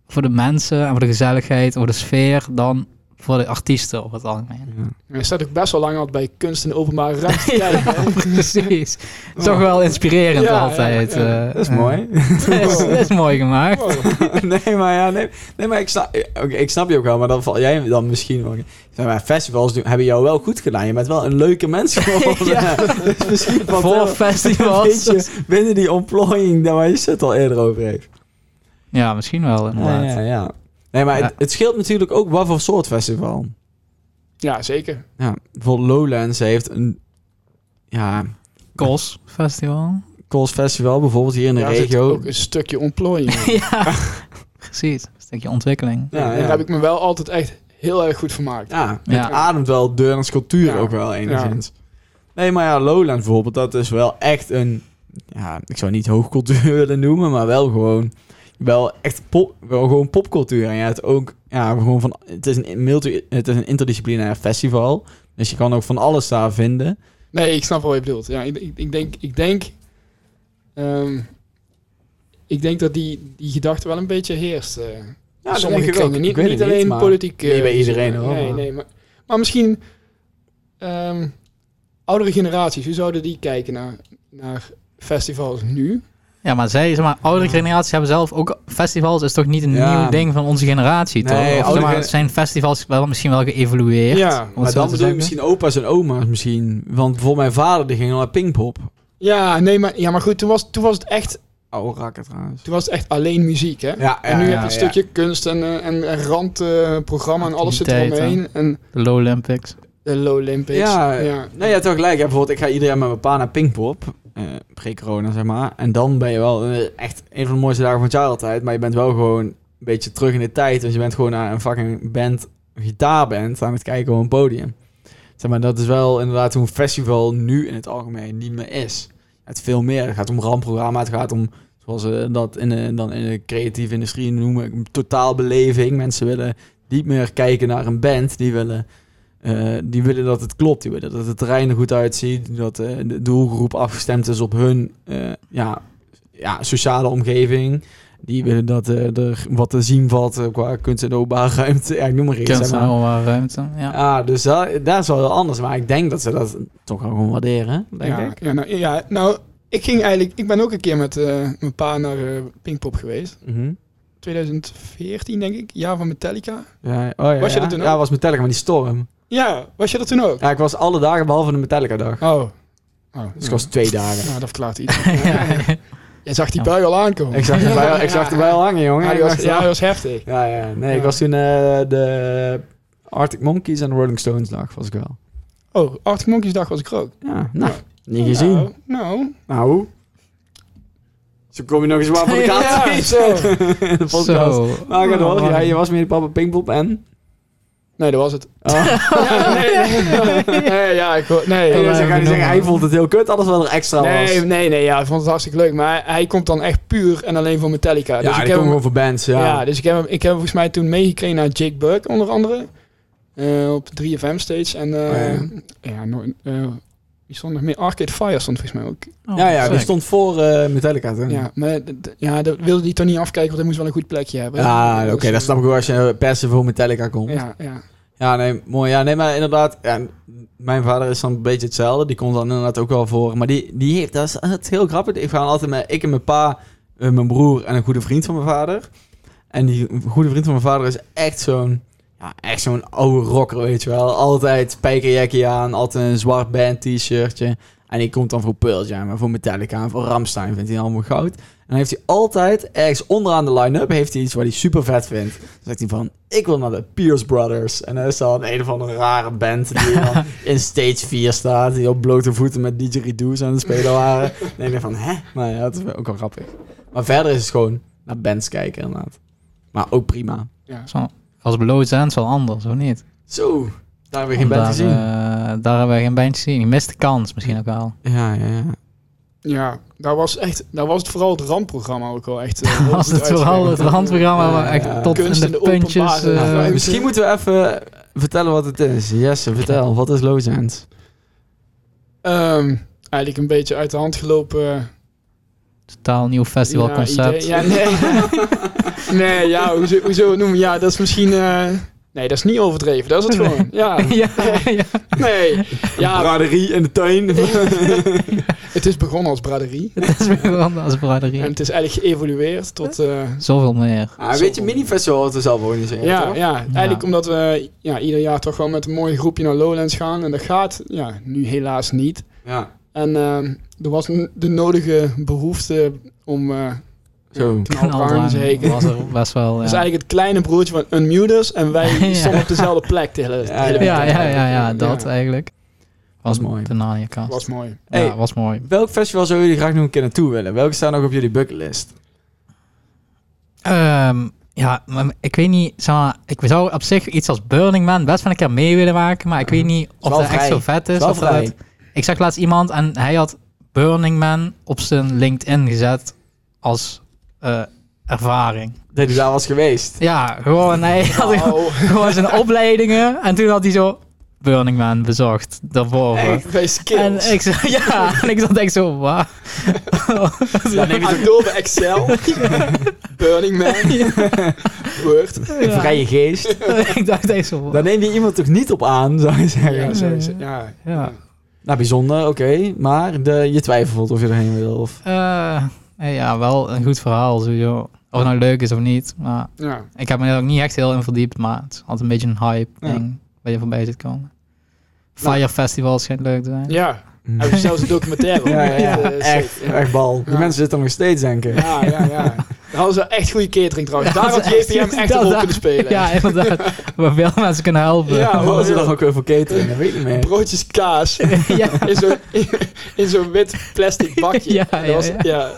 [SPEAKER 2] voor de mensen en voor de gezelligheid, voor de sfeer, dan voor de artiesten op het algemeen.
[SPEAKER 3] Hij staat ook best wel lang al bij kunst in de openbare ruimte. te kijken, hè.
[SPEAKER 2] Precies. Toch wel inspirerend
[SPEAKER 3] Ja, ja,
[SPEAKER 2] altijd.
[SPEAKER 3] ja.
[SPEAKER 2] eh.
[SPEAKER 1] Dat is mooi.
[SPEAKER 2] dat, is, dat is mooi gemaakt.
[SPEAKER 1] nee, maar ja, nee, nee maar ik snap, eh, oké, ik snap je ook wel, maar dan val jij dan misschien wel. Zeg maar, festivals doen, hebben jou wel goed gedaan. Je bent wel een leuke mens geworden.
[SPEAKER 2] Ja.
[SPEAKER 1] Dus misschien valt er
[SPEAKER 2] Voor
[SPEAKER 1] wel een
[SPEAKER 2] festivals.
[SPEAKER 1] beetje binnen die ontplooiing daar waar je het al eerder over heeft.
[SPEAKER 2] Ja, misschien wel
[SPEAKER 1] Ja,
[SPEAKER 2] inderdaad.
[SPEAKER 1] ja, ja. Nee, maar Het,
[SPEAKER 2] Ja.
[SPEAKER 1] het scheelt natuurlijk ook wat voor soort festival.
[SPEAKER 3] Ja, zeker.
[SPEAKER 1] Ja, bijvoorbeeld Lowlands heeft een ja,
[SPEAKER 2] Kos Festival.
[SPEAKER 1] Kools Festival bijvoorbeeld hier in de
[SPEAKER 3] Ja, er zit
[SPEAKER 1] regio.
[SPEAKER 3] ook een stukje ontplooiing. in.
[SPEAKER 2] ja, precies. Een stukje ontwikkeling.
[SPEAKER 1] Ja,
[SPEAKER 3] En daar
[SPEAKER 1] ja.
[SPEAKER 3] heb ik me wel altijd echt heel erg goed vermaakt.
[SPEAKER 1] Ja, het
[SPEAKER 2] Ja.
[SPEAKER 1] ademt wel Deurlands cultuur
[SPEAKER 3] Ja.
[SPEAKER 1] ook wel enigszins. Nee, maar ja, Lowlands bijvoorbeeld, dat is wel echt een... Ja, ik zou niet hoogcultuur willen noemen, maar wel gewoon... Wel echt pop, wel gewoon popcultuur. En ja, het ook... Ja, gewoon van... Het is een, multi, het is een interdisciplinair festival. Dus je kan ook van alles daar vinden.
[SPEAKER 3] Nee, ik snap wel wat je bedoelt. Ja, ik, ik, ik denk, ik denk, ehm, ik denk dat die, die gedachte wel een beetje heerst. eh.
[SPEAKER 1] Ja,
[SPEAKER 3] sommige kringen. Niet, niet alleen politiek. eh,
[SPEAKER 1] niet bij iedereen, hoor,
[SPEAKER 3] Nee,
[SPEAKER 1] maar-
[SPEAKER 3] nee, maar, maar misschien ehm, oudere generaties. Hoe zouden die kijken naar, naar festivals nu?
[SPEAKER 2] Ja, maar zij, zeg maar, oudere generaties hebben zelf ook festivals. Is toch niet een
[SPEAKER 1] Ja.
[SPEAKER 2] nieuw ding van onze generatie,
[SPEAKER 1] Nee,
[SPEAKER 2] toch? Of, zeg
[SPEAKER 1] oudere-
[SPEAKER 2] maar, zijn festivals wel misschien wel geëvolueerd?
[SPEAKER 3] Ja,
[SPEAKER 2] om het
[SPEAKER 1] Maar
[SPEAKER 2] zo
[SPEAKER 1] dan bedoel
[SPEAKER 2] te
[SPEAKER 1] je
[SPEAKER 2] zeggen.
[SPEAKER 1] misschien opa's en oma's misschien. Want bijvoorbeeld mijn vader, die ging al naar Pinkpop.
[SPEAKER 3] Ja, nee, maar, ja, maar goed, toen was, toen, was het echt,
[SPEAKER 1] Oude rakker trouwens.
[SPEAKER 3] toen was het echt alleen muziek, hè?
[SPEAKER 1] Ja,
[SPEAKER 3] en nu
[SPEAKER 2] ja,
[SPEAKER 3] heb je een
[SPEAKER 1] ja.
[SPEAKER 3] stukje kunst en, eh, en, en randprogramma en alles zit eromheen.
[SPEAKER 2] Activiteiten.
[SPEAKER 3] En
[SPEAKER 2] De Low Olympics.
[SPEAKER 3] de Low Olympics.
[SPEAKER 1] Ja,
[SPEAKER 3] ja.
[SPEAKER 1] Nee, ja, toch gelijk. Ja, bijvoorbeeld, ik ga ieder jaar met mijn pa naar Pinkpop. eh Pre-corona, zeg maar. En dan ben je wel eh, echt een van de mooiste dagen van het jaar altijd. Maar je bent wel gewoon een beetje terug in de tijd. Dus je bent gewoon naar een fucking band, een gitaarband, aan het kijken op een podium. Zeg maar, dat is wel inderdaad hoe een festival nu in het algemeen niet meer is. Het veel meer. Het gaat om rampprogramma. Het gaat om, zoals ze dat in de, dan in de creatieve industrie noemen, totaalbeleving. Mensen willen niet meer kijken naar een band. Die willen, eh, die willen dat het klopt. Die willen dat het terrein er goed uitziet. Dat eh, de doelgroep afgestemd is op hun eh, ja, ja, sociale omgeving. Die willen dat eh, er wat te zien valt eh, qua kunst en openbare ruimte. Ja, ik noem maar iets.
[SPEAKER 2] Kunst
[SPEAKER 1] zeg
[SPEAKER 2] en
[SPEAKER 1] maar.
[SPEAKER 2] openbare ruimte. Ja.
[SPEAKER 1] Ja, dus dat, dat is wel heel anders. Maar ik denk dat ze dat toch wel gewoon waarderen, denk
[SPEAKER 3] ja,
[SPEAKER 1] ik.
[SPEAKER 3] Ja nou, ja, nou, ik ging eigenlijk... Ik ben ook een keer met eh, mijn pa naar eh, Pinkpop geweest.
[SPEAKER 1] Mhm.
[SPEAKER 3] 2014, denk ik. Jaar van Metallica.
[SPEAKER 1] ja, oh, ja,
[SPEAKER 3] Was je
[SPEAKER 1] ja.
[SPEAKER 3] er toen ook?
[SPEAKER 1] Ja, was Metallica, maar die storm.
[SPEAKER 3] Ja, was je dat toen ook?
[SPEAKER 1] Ja, ik was alle dagen behalve de Metallica-dag.
[SPEAKER 3] Oh. oh
[SPEAKER 1] Dus ik was twee dagen.
[SPEAKER 3] Nou, dat verklaart iets. ja. Je zag die bui al aankomen.
[SPEAKER 1] Ik zag erbij ik zag erbij al hangen, jongen.
[SPEAKER 3] Ja, die
[SPEAKER 1] Ik
[SPEAKER 3] was,
[SPEAKER 1] dacht,
[SPEAKER 3] ja, die
[SPEAKER 1] ja,
[SPEAKER 3] was heftig.
[SPEAKER 1] ja, ja. Nee, ik
[SPEAKER 3] Ja.
[SPEAKER 1] was toen eh, de Arctic Monkeys en de Rolling Stones dag, was ik wel.
[SPEAKER 3] Oh, Arctic Monkeys dag was ik er ook.
[SPEAKER 1] Ja, nou,
[SPEAKER 3] Ja.
[SPEAKER 1] niet gezien.
[SPEAKER 3] Nou, nou.
[SPEAKER 1] Nou. Zo kom je nog eens waar voor de kaart
[SPEAKER 3] Ja, zo.
[SPEAKER 1] in de podcast. Nou,
[SPEAKER 2] Zo.
[SPEAKER 1] Maar ga door.
[SPEAKER 2] Oh,
[SPEAKER 1] Ja, je was met je papa Pinkpop en...
[SPEAKER 3] Nee, dat was het.
[SPEAKER 1] Oh.
[SPEAKER 3] Ja, nee, nee. nee, ja, ik hoor- Nee,
[SPEAKER 1] Hey,
[SPEAKER 3] nee,
[SPEAKER 1] dus dan ga je
[SPEAKER 2] benoemen.
[SPEAKER 1] zeggen, hij vond het heel kut, alles wat er extra was.
[SPEAKER 3] nee, nee, ja, ik vond het hartstikke leuk. Maar hij komt dan echt puur en alleen voor Metallica.
[SPEAKER 1] Ja,
[SPEAKER 3] dus ik
[SPEAKER 1] die
[SPEAKER 3] heb
[SPEAKER 1] komen
[SPEAKER 3] hem
[SPEAKER 1] gewoon voor bands, ja.
[SPEAKER 3] Ja. dus ik heb, hem- ik heb hem volgens mij toen meegekregen naar Jake Burke, onder andere. Eh, op 3FM stage. En eh,
[SPEAKER 1] Oh,
[SPEAKER 3] ja, no- eh, Die stond nog meer. Arcade Fire stond volgens mij ook.
[SPEAKER 2] Oh,
[SPEAKER 1] ja, ja,
[SPEAKER 2] sick.
[SPEAKER 1] dat stond voor eh, Metallica. Toch?
[SPEAKER 3] Ja, maar d- d- ja, dat wilde hij toch niet afkijken, want hij moest wel een goed plekje hebben.
[SPEAKER 1] Ja, oké,
[SPEAKER 3] Dus,
[SPEAKER 1] dat snap ik wel als je persen voor Metallica komt. Ja.
[SPEAKER 3] Ja, ja.
[SPEAKER 1] nee, mooi. Ja, nee, maar inderdaad, ja, mijn vader is dan een beetje hetzelfde. Die komt dan inderdaad ook wel voor. Maar die, die heeft, dat is, dat is heel grappig. Ik ga altijd met, ik en mijn pa, eh, mijn broer en een goede vriend van mijn vader. En die goede vriend van mijn vader is echt zo'n, ja, echt zo'n oude rocker, weet je wel. Altijd spijkerjackie aan, altijd een zwart band t-shirtje. En die komt dan voor Pearl Jam en voor Metallica en voor Ramstein vindt hij allemaal goud. En dan heeft hij altijd ergens onderaan de line-up heeft hij iets waar hij super vet vindt. Dan zegt hij van, ik wil naar de Pierce Brothers. En dat is dan een of andere rare band die dan in stage 4 staat. Die op blote voeten met didgeridoos aan het spelen waren. Dan denk je van, hè? Nou ja, dat is ook wel grappig. Maar verder is het gewoon naar bands kijken inderdaad. Maar ook prima.
[SPEAKER 2] Zo. Als Below Sands wel anders, of niet?
[SPEAKER 1] Zo, daar hebben we geen
[SPEAKER 2] Want
[SPEAKER 1] band gezien.
[SPEAKER 2] daar, eh, daar hebben we geen band gezien. Die mist de kans misschien ook wel.
[SPEAKER 1] Ja, ja, ja.
[SPEAKER 3] ja, daar was, echt, daar was het vooral het rampprogramma ook wel echt... eh, heel
[SPEAKER 2] Als
[SPEAKER 3] goed
[SPEAKER 2] het vooral het
[SPEAKER 3] uitgewerkt.
[SPEAKER 2] randprogramma
[SPEAKER 1] Ja,
[SPEAKER 2] waar echt
[SPEAKER 1] ja.
[SPEAKER 2] tot
[SPEAKER 3] Kunst
[SPEAKER 2] in
[SPEAKER 3] in
[SPEAKER 2] de
[SPEAKER 3] de
[SPEAKER 2] puntjes...
[SPEAKER 3] openbare
[SPEAKER 2] eh,
[SPEAKER 3] ruimte.
[SPEAKER 1] Nou, Misschien moeten we even vertellen wat het is. Jesse, vertel. Wat is Low Sands?
[SPEAKER 3] Ehm, eigenlijk een beetje uit de hand gelopen...
[SPEAKER 2] totaal nieuw festivalconcept.
[SPEAKER 3] Ja, idee. ja, nee. nee, ja, hoezo, hoezo het noemen? Ja, dat is misschien... eh, nee, dat is niet overdreven. Dat is het gewoon. Ja,
[SPEAKER 2] ja, ja.
[SPEAKER 3] nee. Ja,
[SPEAKER 1] Braderie in de tuin.
[SPEAKER 3] het is begonnen als braderie.
[SPEAKER 2] Dat is weer gewoon als
[SPEAKER 3] En
[SPEAKER 2] braderie.
[SPEAKER 3] het is eigenlijk geëvolueerd tot... eh,
[SPEAKER 2] Zoveel meer.
[SPEAKER 1] Ah, weet je, mini-festival had het zelf organiseren,
[SPEAKER 3] Ja,
[SPEAKER 1] toch?
[SPEAKER 3] ja, eigenlijk omdat we ja, ieder jaar toch wel met een mooi groepje naar Lowlands gaan. En dat gaat ja, nu helaas niet.
[SPEAKER 1] Ja.
[SPEAKER 3] En ehm, er was n- de nodige behoefte om eh
[SPEAKER 1] Zo.
[SPEAKER 3] te gaan
[SPEAKER 2] Knalruim
[SPEAKER 3] zeker.
[SPEAKER 2] was er best wel.
[SPEAKER 3] Dat
[SPEAKER 2] ja.
[SPEAKER 3] is Dus eigenlijk het kleine broertje van Unmuters. En wij
[SPEAKER 2] Ja.
[SPEAKER 3] stonden op dezelfde plek de hele, de
[SPEAKER 1] Ja,
[SPEAKER 3] hele
[SPEAKER 2] ja,
[SPEAKER 3] week.
[SPEAKER 2] ja, ja, ja, dat
[SPEAKER 3] Ja.
[SPEAKER 2] eigenlijk.
[SPEAKER 1] Was
[SPEAKER 2] Was
[SPEAKER 1] mooi.
[SPEAKER 2] mooi. De Nania-kast.
[SPEAKER 3] was mooi.
[SPEAKER 1] Hey.
[SPEAKER 2] Ja, was mooi.
[SPEAKER 1] Welk festival zou jullie graag nog een keer naartoe willen? Welke staan nog op jullie bucketlist?
[SPEAKER 2] Ehm, ja, maar ik weet niet, zeg maar, ik zou op zich iets als Burning Man best wel een keer mee willen maken, maar ik weet niet of
[SPEAKER 1] wel
[SPEAKER 2] dat echt
[SPEAKER 1] vrij.
[SPEAKER 2] zo vet is.
[SPEAKER 1] Wel
[SPEAKER 2] of dat
[SPEAKER 1] vrij.
[SPEAKER 2] het- ik zag laatst iemand en hij had Burning Man op zijn LinkedIn gezet als eh, ervaring.
[SPEAKER 1] Dat je daar was geweest.
[SPEAKER 2] Ja, gewoon, hij had gewoon-
[SPEAKER 3] Oh,
[SPEAKER 2] gewoon zijn opleidingen en toen had hij zo Burning Man bezocht daarboven.
[SPEAKER 3] echt, wij
[SPEAKER 2] En
[SPEAKER 3] skills.
[SPEAKER 2] ik, zo- ja, en ik zat echt zo, wauw.
[SPEAKER 3] Adobe Excel. Burning Man. Word.
[SPEAKER 2] Ja.
[SPEAKER 1] Vrije geest.
[SPEAKER 2] ik dacht echt zo,
[SPEAKER 1] Daar neem je iemand toch niet op aan, zou je zeggen.
[SPEAKER 3] Ja, zo is het. ja.
[SPEAKER 2] ja.
[SPEAKER 1] Nou, bijzonder, oké. Maar de, je twijfelt of je erheen wil. Of...
[SPEAKER 2] Eh, eh, ja, wel een goed verhaal sowieso. Of het nou leuk is of niet. Maar
[SPEAKER 3] ja.
[SPEAKER 2] ik heb me er ook niet echt heel in verdiept. Maar het is altijd een beetje een hype
[SPEAKER 1] Ja.
[SPEAKER 2] ding. Waar je voorbij zit komen. Fire Festival schijnt leuk te zijn.
[SPEAKER 3] ja.
[SPEAKER 1] Mm.
[SPEAKER 3] Hij heeft zelfs een documentaire.
[SPEAKER 1] Ja, ja, ja.
[SPEAKER 3] Eh, shit.
[SPEAKER 1] echt, echt bal. Die
[SPEAKER 3] Ja.
[SPEAKER 1] mensen zitten nog steeds, denken.
[SPEAKER 3] Ja, ja, ja. Daar hadden ze echt goede catering trouwens. Daar had
[SPEAKER 2] Dat is
[SPEAKER 3] JPM echt een
[SPEAKER 2] dat-
[SPEAKER 3] rol
[SPEAKER 2] dat-
[SPEAKER 3] kunnen spelen.
[SPEAKER 2] Ja, inderdaad. Waar veel mensen kunnen helpen.
[SPEAKER 3] Ja,
[SPEAKER 1] Wat is er
[SPEAKER 3] ja.
[SPEAKER 1] dan ook weer voor catering? Dat weet ik niet meer.
[SPEAKER 3] Broodjes kaas
[SPEAKER 2] ja.
[SPEAKER 3] in zo'n in zo'n wit plastic bakje.
[SPEAKER 2] Ja,
[SPEAKER 3] En dat was,
[SPEAKER 2] ja,
[SPEAKER 3] ja. Het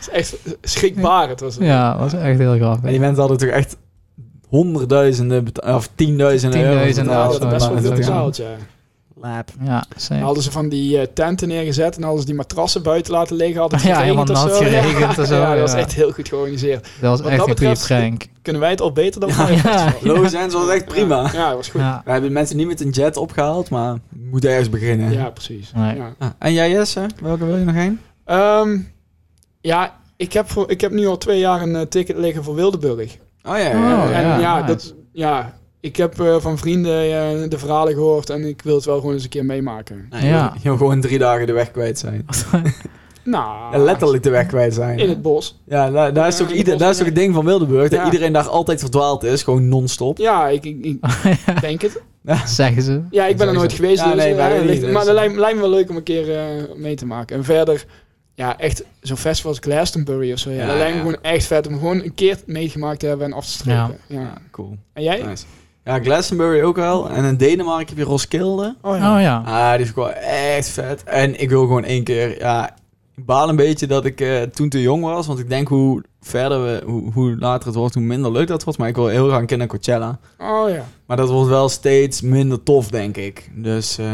[SPEAKER 3] is echt schrikbaar. Het was,
[SPEAKER 2] Ja, was echt heel
[SPEAKER 1] Maar
[SPEAKER 2] grappig.
[SPEAKER 1] die mensen hadden toch echt honderdduizenden beta- of tienduizenden euro
[SPEAKER 2] Tienduizenden
[SPEAKER 3] Ja,
[SPEAKER 1] betaald.
[SPEAKER 3] dat
[SPEAKER 2] zo,
[SPEAKER 3] had best wel
[SPEAKER 2] ja,
[SPEAKER 3] veel
[SPEAKER 2] dat is ook
[SPEAKER 3] betaald, ja.
[SPEAKER 1] Lap.
[SPEAKER 2] Ja,
[SPEAKER 3] Dan
[SPEAKER 2] zeker.
[SPEAKER 3] hadden ze van die eh, tenten neergezet en hadden ze die matrassen buiten laten liggen. Hadden het
[SPEAKER 2] Ja,
[SPEAKER 3] geregend
[SPEAKER 2] helemaal
[SPEAKER 3] of
[SPEAKER 2] nat
[SPEAKER 3] zo. Ja.
[SPEAKER 2] geregend en zo,
[SPEAKER 3] Ja, dat was
[SPEAKER 2] ja.
[SPEAKER 3] echt heel goed georganiseerd.
[SPEAKER 2] Dat was
[SPEAKER 3] Wat
[SPEAKER 2] echt
[SPEAKER 3] dat
[SPEAKER 2] een goede
[SPEAKER 3] betreft-
[SPEAKER 2] prank.
[SPEAKER 3] Kunnen wij het al beter dan
[SPEAKER 2] Ja.
[SPEAKER 3] wij? Ja.
[SPEAKER 1] Low zijn was echt prima.
[SPEAKER 3] Ja, dat was goed.
[SPEAKER 2] Ja.
[SPEAKER 1] We hebben mensen niet met een jet opgehaald, maar we moeten ergens beginnen.
[SPEAKER 3] Ja, precies.
[SPEAKER 2] Nee.
[SPEAKER 3] Ja.
[SPEAKER 1] Ah, en jij Jesse, welke wil je nog heen?
[SPEAKER 3] Ehm, ja, ik heb, voor, ik heb nu al twee jaar een eh, ticket liggen voor Wildeburg.
[SPEAKER 1] Oh ja, ja,
[SPEAKER 2] Oh,
[SPEAKER 1] ja.
[SPEAKER 3] en ja,
[SPEAKER 2] ja, nice.
[SPEAKER 3] dat, ja ik heb eh, van vrienden eh, de verhalen gehoord en ik wil het wel gewoon eens een keer meemaken.
[SPEAKER 1] Nou, je
[SPEAKER 2] Ja.
[SPEAKER 1] wil- je wil gewoon drie dagen de weg kwijt zijn.
[SPEAKER 3] Nou,
[SPEAKER 1] Ja, letterlijk de weg kwijt zijn.
[SPEAKER 3] in het bos.
[SPEAKER 1] Ja, daar, daar is
[SPEAKER 3] Ja,
[SPEAKER 1] toch
[SPEAKER 3] in
[SPEAKER 1] ieder,
[SPEAKER 3] het
[SPEAKER 1] daar is
[SPEAKER 3] bos,
[SPEAKER 1] toch het ding van Wildeburg, dat
[SPEAKER 3] Ja.
[SPEAKER 1] iedereen daar altijd verdwaald is, gewoon non-stop.
[SPEAKER 3] Ja, ik, ik, ik denk het.
[SPEAKER 2] Zeggen ze.
[SPEAKER 3] Ja, ik ben er nooit geweest.
[SPEAKER 1] Ja,
[SPEAKER 3] dus,
[SPEAKER 1] nee,
[SPEAKER 3] eh,
[SPEAKER 1] wij
[SPEAKER 3] ligt-
[SPEAKER 1] niet,
[SPEAKER 3] maar
[SPEAKER 1] dus-
[SPEAKER 3] dat lijkt, lijkt me wel leuk om een keer eh, mee te maken. En verder, ja, echt zo'n festival als Glastonbury of zo. Ja,
[SPEAKER 1] Ja,
[SPEAKER 3] dat lijkt me
[SPEAKER 1] ja.
[SPEAKER 3] gewoon echt vet om gewoon een keer meegemaakt te hebben en af te strepen.
[SPEAKER 1] Ja,
[SPEAKER 3] Ja.
[SPEAKER 1] Ah, cool.
[SPEAKER 3] En jij?
[SPEAKER 1] Nice. Ja, Glastonbury ook wel. En in Denemarken heb je Roskilde.
[SPEAKER 3] Oh
[SPEAKER 2] Oh ja.
[SPEAKER 1] Ah, die is gewoon echt vet. En ik wil gewoon één keer, ja... Ik baal een beetje dat ik eh, toen te jong was, want ik denk hoe verder we, hoe, hoe later het wordt, hoe minder leuk dat wordt. Maar ik wil heel graag een keer naar Coachella.
[SPEAKER 3] Oh ja.
[SPEAKER 1] Maar dat wordt wel steeds minder tof, denk ik. Dus eh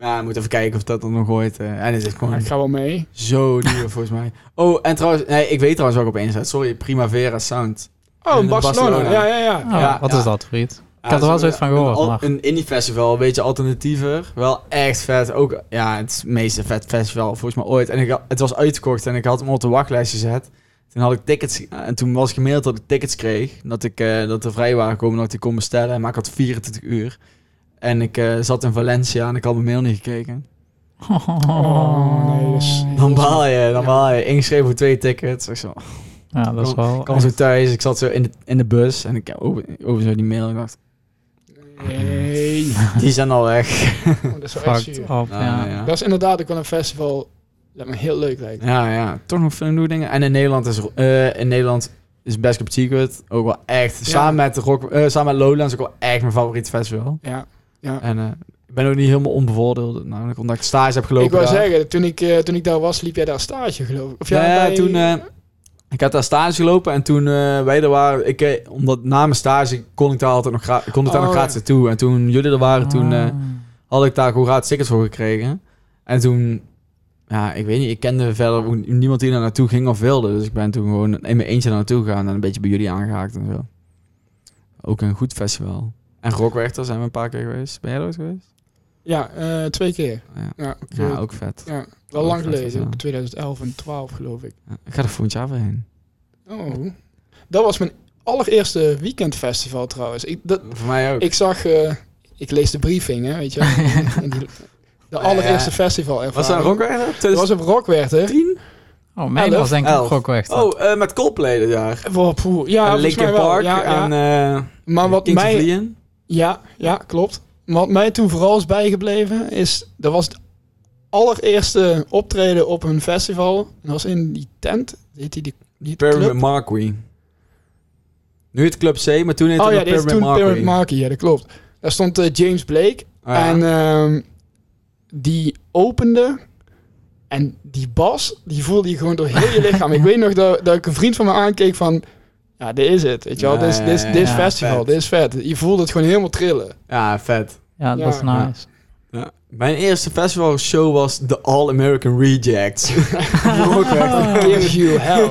[SPEAKER 1] ja, we moeten even kijken of dat dan nog ooit... eh, en het is
[SPEAKER 3] Ja,
[SPEAKER 1] gewoon
[SPEAKER 3] Ik ga wel mee.
[SPEAKER 1] zo duur, volgens mij. Oh, en trouwens... Nee, ik weet trouwens waar ik op één zet. Sorry, Primavera Sound.
[SPEAKER 3] Oh,
[SPEAKER 1] In
[SPEAKER 3] in Barcelona.
[SPEAKER 1] Barcelona.
[SPEAKER 3] Ja, ja, ja.
[SPEAKER 2] Oh,
[SPEAKER 1] ja,
[SPEAKER 2] wat
[SPEAKER 1] ja.
[SPEAKER 2] is dat voor iets?
[SPEAKER 1] Ja, Ik
[SPEAKER 2] had er wel zoiets van gehoord,
[SPEAKER 1] Een,
[SPEAKER 2] maar-
[SPEAKER 1] een indie festival, een beetje alternatiever. Wel echt vet. Ook, ja, het is het meeste vet festival volgens mij ooit. En ik, had- het was uitverkocht en ik had hem op de wachtlijst gezet. Toen had ik tickets. En toen was gemaild dat ik tickets kreeg. Dat, ik, eh, dat er vrij waren gekomen, dat ik die kon bestellen. Maar ik had 24 uur. En ik eh, zat in Valencia en ik had mijn mail niet gekeken.
[SPEAKER 3] Oh, nee, dat is-
[SPEAKER 1] Dan baal je, dan baal je. Ingeschreven voor twee tickets. Ik zo,
[SPEAKER 3] Oh,
[SPEAKER 2] Ja, dat is wel...
[SPEAKER 1] ik kwam zo thuis, ik zat zo in de, in de bus en ik over, over zo die mail en ik dacht,
[SPEAKER 3] Nee.
[SPEAKER 1] die zijn al weg.
[SPEAKER 3] Oh, dat is wel echt
[SPEAKER 2] fucked
[SPEAKER 3] zuur.
[SPEAKER 2] up,
[SPEAKER 1] Nou,
[SPEAKER 2] ja.
[SPEAKER 1] ja.
[SPEAKER 3] Dat is inderdaad ook wel een festival dat me heel leuk lijkt.
[SPEAKER 1] Ja, ja. Toch nog veel nieuwe dingen. En in Nederland is, eh in Nederland is Best Cup Secret ook wel echt, samen, met de rock, eh, samen met Lowlands ook wel echt mijn favoriet festival.
[SPEAKER 3] Ja.
[SPEAKER 1] En eh, ik ben ook niet helemaal onbevoordeeld, namelijk omdat ik stage heb gelopen
[SPEAKER 3] Ik wou
[SPEAKER 1] daar.
[SPEAKER 3] zeggen, toen ik, eh, toen ik daar was, liep jij daar stage, geloof ik. Of
[SPEAKER 1] Nee,
[SPEAKER 3] bij-
[SPEAKER 1] toen, eh, ik had daar stage gelopen en toen eh, wij er waren, ik, eh, omdat na mijn stage kon ik daar altijd nog, gra- kon ik daar nog
[SPEAKER 3] Oh, ja. Ah.
[SPEAKER 1] gratis naartoe. En toen jullie er waren, toen...
[SPEAKER 2] Ah.
[SPEAKER 1] eh, had ik daar gewoon gratis tickets voor gekregen. En toen, ja, ik weet niet, ik kende verder ook niemand die daar naartoe ging of wilde. Dus ik ben toen gewoon in mijn eentje daar naartoe gegaan en een beetje bij jullie aangehaakt en zo. Ook een goed festival. En Rockwerchter zijn we een paar keer geweest. Ben jij er ooit geweest?
[SPEAKER 3] Ja, eh, twee keer.
[SPEAKER 1] Ja.
[SPEAKER 3] Ja,
[SPEAKER 1] Ja, ook vet.
[SPEAKER 3] Ja, wel lang
[SPEAKER 1] Ook vet,
[SPEAKER 3] geleden.
[SPEAKER 1] ja.
[SPEAKER 3] 2011 en 12 geloof ik.
[SPEAKER 1] Ja, Ik ga er volgend jaar weer heen.
[SPEAKER 3] Oh. Dat was mijn allereerste weekendfestival trouwens. Ik, dat,
[SPEAKER 1] Voor mij ook.
[SPEAKER 3] ik zag... eh, ik lees de briefing, hè, weet je. wel. En die- de allereerste
[SPEAKER 1] Ja.
[SPEAKER 3] festival
[SPEAKER 1] was dat een Rockwerchter?
[SPEAKER 3] Dat was op Rockwerchter.
[SPEAKER 1] Tien?
[SPEAKER 2] Oh, mijn
[SPEAKER 3] Elf.
[SPEAKER 2] was denk ik
[SPEAKER 1] Elf.
[SPEAKER 2] ook ook echt.
[SPEAKER 1] Oh, eh, met Coldplay dit jaar.
[SPEAKER 3] Wow, poeh. Ja,
[SPEAKER 1] en
[SPEAKER 3] volgens
[SPEAKER 1] Linkin
[SPEAKER 3] mij wel.
[SPEAKER 1] Park
[SPEAKER 3] Ja, ja.
[SPEAKER 1] en eh
[SPEAKER 3] maar wat
[SPEAKER 1] Kings of
[SPEAKER 3] mij,
[SPEAKER 1] Leon.
[SPEAKER 3] Ja, ja, klopt. Wat mij toen vooral is bijgebleven is, dat was het allereerste optreden op een festival. Dat was in die tent, heet die, die, die
[SPEAKER 1] Pyramid
[SPEAKER 3] club?
[SPEAKER 1] Marquee. Nu het Club C, maar toen heette
[SPEAKER 3] Oh
[SPEAKER 1] het
[SPEAKER 3] ja,
[SPEAKER 1] nog
[SPEAKER 3] dit is
[SPEAKER 1] Pyramid
[SPEAKER 3] toen
[SPEAKER 1] Marquee.
[SPEAKER 3] Pyramid Marquee, ja dat klopt. Daar stond eh, James Blake
[SPEAKER 1] Ah, ja.
[SPEAKER 3] en ehm, die opende en die bas, die voelde je gewoon door heel je lichaam. ik weet nog dat, dat ik een vriend van me aankeek van, ja dit is het, weet je wel,
[SPEAKER 1] Ja,
[SPEAKER 3] dit is, dit is,
[SPEAKER 1] ja,
[SPEAKER 3] dit is
[SPEAKER 2] ja,
[SPEAKER 3] festival,
[SPEAKER 1] vet.
[SPEAKER 3] dit is vet. Je voelde het gewoon helemaal trillen.
[SPEAKER 1] Ja, vet.
[SPEAKER 2] Ja, dat is
[SPEAKER 3] Ja.
[SPEAKER 2] nice.
[SPEAKER 1] Mijn eerste festivalshow was de All American Rejects.
[SPEAKER 3] Give you hell.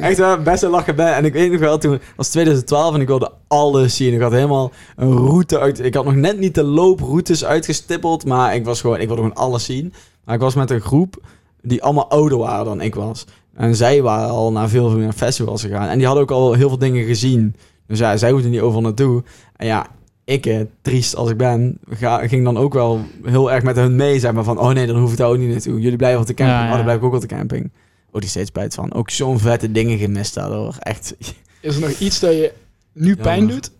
[SPEAKER 1] Echt waar, best een lachen bij. En ik weet nog wel, toen was 2012 en ik wilde alles zien. Ik had helemaal een route uit. Ik had nog net niet de looproutes uitgestippeld, maar ik was gewoon, ik wilde gewoon alles zien. Maar ik was met een groep die allemaal ouder waren dan ik was. En zij waren al naar veel meer festivals gegaan. En die hadden ook al heel veel dingen gezien. Dus ja, zij hoefden niet overal naartoe. En ja, ik, eh, triest als ik ben, ga, ging dan ook wel heel erg met hun mee. Zeg maar van, oh nee, dan hoef ik daar ook niet naartoe. Jullie blijven op de camping.
[SPEAKER 2] Ja,
[SPEAKER 1] Oh,
[SPEAKER 2] ja.
[SPEAKER 1] dan blijf ik ook op de camping. Oh, die steeds spijt van. Ook zo'n vette dingen gemist daardoor. Echt.
[SPEAKER 3] Is er nog iets dat je nu pijn
[SPEAKER 1] Jammer.
[SPEAKER 3] doet?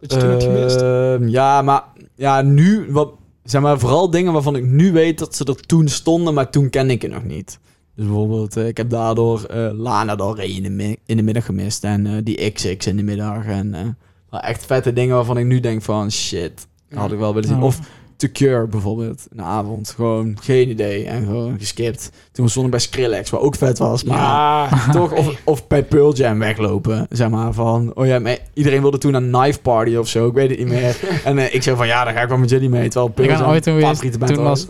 [SPEAKER 3] Dat je toen hebt gemist?
[SPEAKER 1] Ehm, ja, maar ja, nu... Wat, zeg maar, vooral dingen waarvan ik nu weet dat ze er toen stonden, maar toen kende ik het nog niet. Dus bijvoorbeeld, eh, ik heb daardoor eh, Lana Del Rey in de, mi- in de middag gemist. En eh, die XX in de middag. En eh, wel echt vette dingen waarvan ik nu denk van... Shit, dat had ik wel willen zien.
[SPEAKER 2] Ja.
[SPEAKER 1] Of The Cure bijvoorbeeld, een avond. Gewoon geen idee. En gewoon geskipt. Toen stond ik bij Skrillex, wat ook vet was. Maar
[SPEAKER 3] ja,
[SPEAKER 1] toch,
[SPEAKER 2] Ah,
[SPEAKER 1] of, of bij Pearl Jam weglopen, zeg maar, van... Oh ja, maar iedereen wilde toen een knife party of zo, ik weet het niet meer. en eh, ik zei van, ja, dan ga ik wel met jullie mee. Terwijl Pearl
[SPEAKER 2] Ik ben
[SPEAKER 1] Jam
[SPEAKER 2] ooit toen
[SPEAKER 1] favoriete
[SPEAKER 2] geweest,
[SPEAKER 1] band
[SPEAKER 2] toen
[SPEAKER 1] ooit.
[SPEAKER 2] was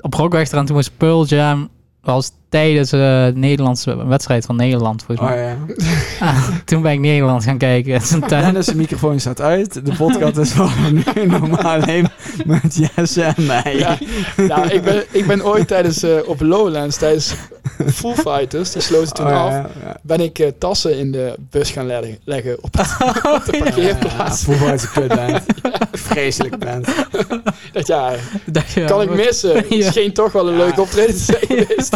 [SPEAKER 2] op Rockwechter en toen was Pearl Jam was tijdens de Nederlandse wedstrijd van Nederland volgens
[SPEAKER 1] Oh
[SPEAKER 2] mij.
[SPEAKER 1] ja.
[SPEAKER 2] Toen ben ik Nederland gaan kijken. Het is een tijd.
[SPEAKER 1] Dennis, de microfoon staat uit. De podcast is van nu normaal alleen met Jesse en mij.
[SPEAKER 3] ja, ja, ik, ben, ik ben ooit tijdens, eh, op Lowlands, tijdens Foo Fighters, die sloten toen
[SPEAKER 1] Oh, ja,
[SPEAKER 3] af,
[SPEAKER 1] ja, ja.
[SPEAKER 3] ben ik eh, tassen in de bus gaan leggen, leggen op de
[SPEAKER 1] Ja,
[SPEAKER 3] parkeerplaats.
[SPEAKER 1] Voetbal is een kutband. Vreselijk band.
[SPEAKER 3] Dat ja,
[SPEAKER 2] dat je-
[SPEAKER 3] kan ik missen. Het
[SPEAKER 2] Ja.
[SPEAKER 3] scheen toch wel een
[SPEAKER 1] Ja.
[SPEAKER 3] leuk optreden te zijn geweest.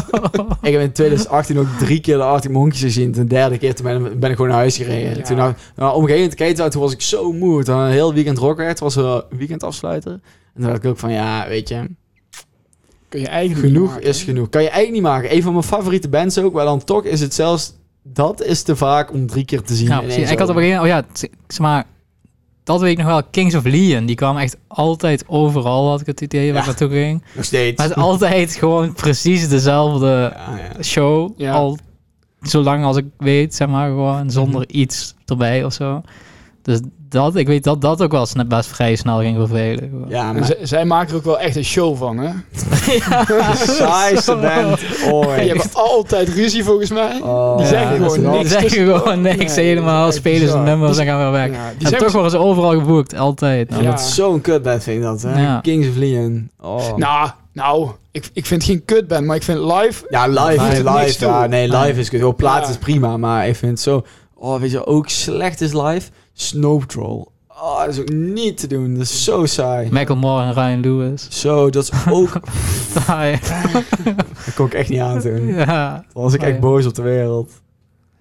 [SPEAKER 1] Ik heb in 2018 ook drie keer de Arctic Monkeys gezien. De derde keer toen ben, ben ik gewoon naar huis gereden.
[SPEAKER 3] Ja.
[SPEAKER 1] Toen nou, nou, op een gegeven moment keek het uit, toen was ik zo moe. Toen had een heel weekend rocken. Het was een weekend afsluiten. En toen dacht ik ook van, ja, weet je,
[SPEAKER 3] Kun je eigenlijk
[SPEAKER 1] genoeg
[SPEAKER 3] niet maken.
[SPEAKER 1] is genoeg. Kan je eigenlijk niet maken. Een van mijn favoriete bands ook, maar dan toch is het zelfs... Dat is te vaak om drie keer te zien.
[SPEAKER 2] Ja,
[SPEAKER 1] in één
[SPEAKER 2] precies. Ik had op
[SPEAKER 1] zomer.
[SPEAKER 2] een gegeven moment, oh ja, t- zeg maar, dat weet ik nog wel. Kings of Leon, die kwam echt altijd overal, had ik het idee, waar
[SPEAKER 1] Ja.
[SPEAKER 2] ik naartoe ging.
[SPEAKER 1] Nog steeds.
[SPEAKER 2] Maar het is altijd gewoon precies dezelfde
[SPEAKER 1] Ja, ja.
[SPEAKER 2] show.
[SPEAKER 3] Ja. Mhm.
[SPEAKER 2] Al zolang als ik weet, zeg maar, gewoon zonder iets erbij of zo. Dus dat, ik weet dat dat ook wel sne- best vrij snel ging vervelen. gewoon.
[SPEAKER 1] Ja,
[SPEAKER 3] En
[SPEAKER 1] maar
[SPEAKER 3] Dus z- zij maken er ook wel echt een show van, hè?
[SPEAKER 1] saaiste band
[SPEAKER 3] Die
[SPEAKER 1] ooit.
[SPEAKER 3] hebben altijd ruzie, volgens mij.
[SPEAKER 1] Oh,
[SPEAKER 3] Die zeggen
[SPEAKER 1] ja,
[SPEAKER 3] gewoon
[SPEAKER 1] dat is
[SPEAKER 2] Die
[SPEAKER 3] niks.
[SPEAKER 2] zeggen
[SPEAKER 3] tussen-
[SPEAKER 2] gewoon niks
[SPEAKER 3] Nee,
[SPEAKER 2] helemaal.
[SPEAKER 3] dat is echt
[SPEAKER 2] Spelen ze
[SPEAKER 3] bizar. Dus
[SPEAKER 2] nummers en gaan weer weg.
[SPEAKER 3] Ja, die
[SPEAKER 2] en
[SPEAKER 3] zijn
[SPEAKER 2] toch worden ze overal geboekt, altijd.
[SPEAKER 1] Ja,
[SPEAKER 3] Ja.
[SPEAKER 1] dat is zo'n kutband vind ik dat, hè?
[SPEAKER 2] Ja.
[SPEAKER 1] Kings of Leon. Oh.
[SPEAKER 3] Nou, nou ik, ik vind het geen kutband, maar ik vind live...
[SPEAKER 1] ja, live
[SPEAKER 3] Live
[SPEAKER 1] is
[SPEAKER 3] doet niks
[SPEAKER 1] live.
[SPEAKER 3] toe.
[SPEAKER 1] Ja, nee, live is kut. Wel, plaat
[SPEAKER 3] Ja.
[SPEAKER 1] is prima, maar ik vind het zo... Oh, weet je, ook slecht is live? Snowpatrol. Oh, dat is ook niet te doen. Dat is zo saai.
[SPEAKER 2] Michael Moore en Ryan Lewis.
[SPEAKER 1] Zo, dat is ook...
[SPEAKER 2] Saai.
[SPEAKER 1] dat kon ik echt niet aandoen.
[SPEAKER 2] ja.
[SPEAKER 1] Dan was ik echt
[SPEAKER 2] Ja.
[SPEAKER 1] boos op de wereld.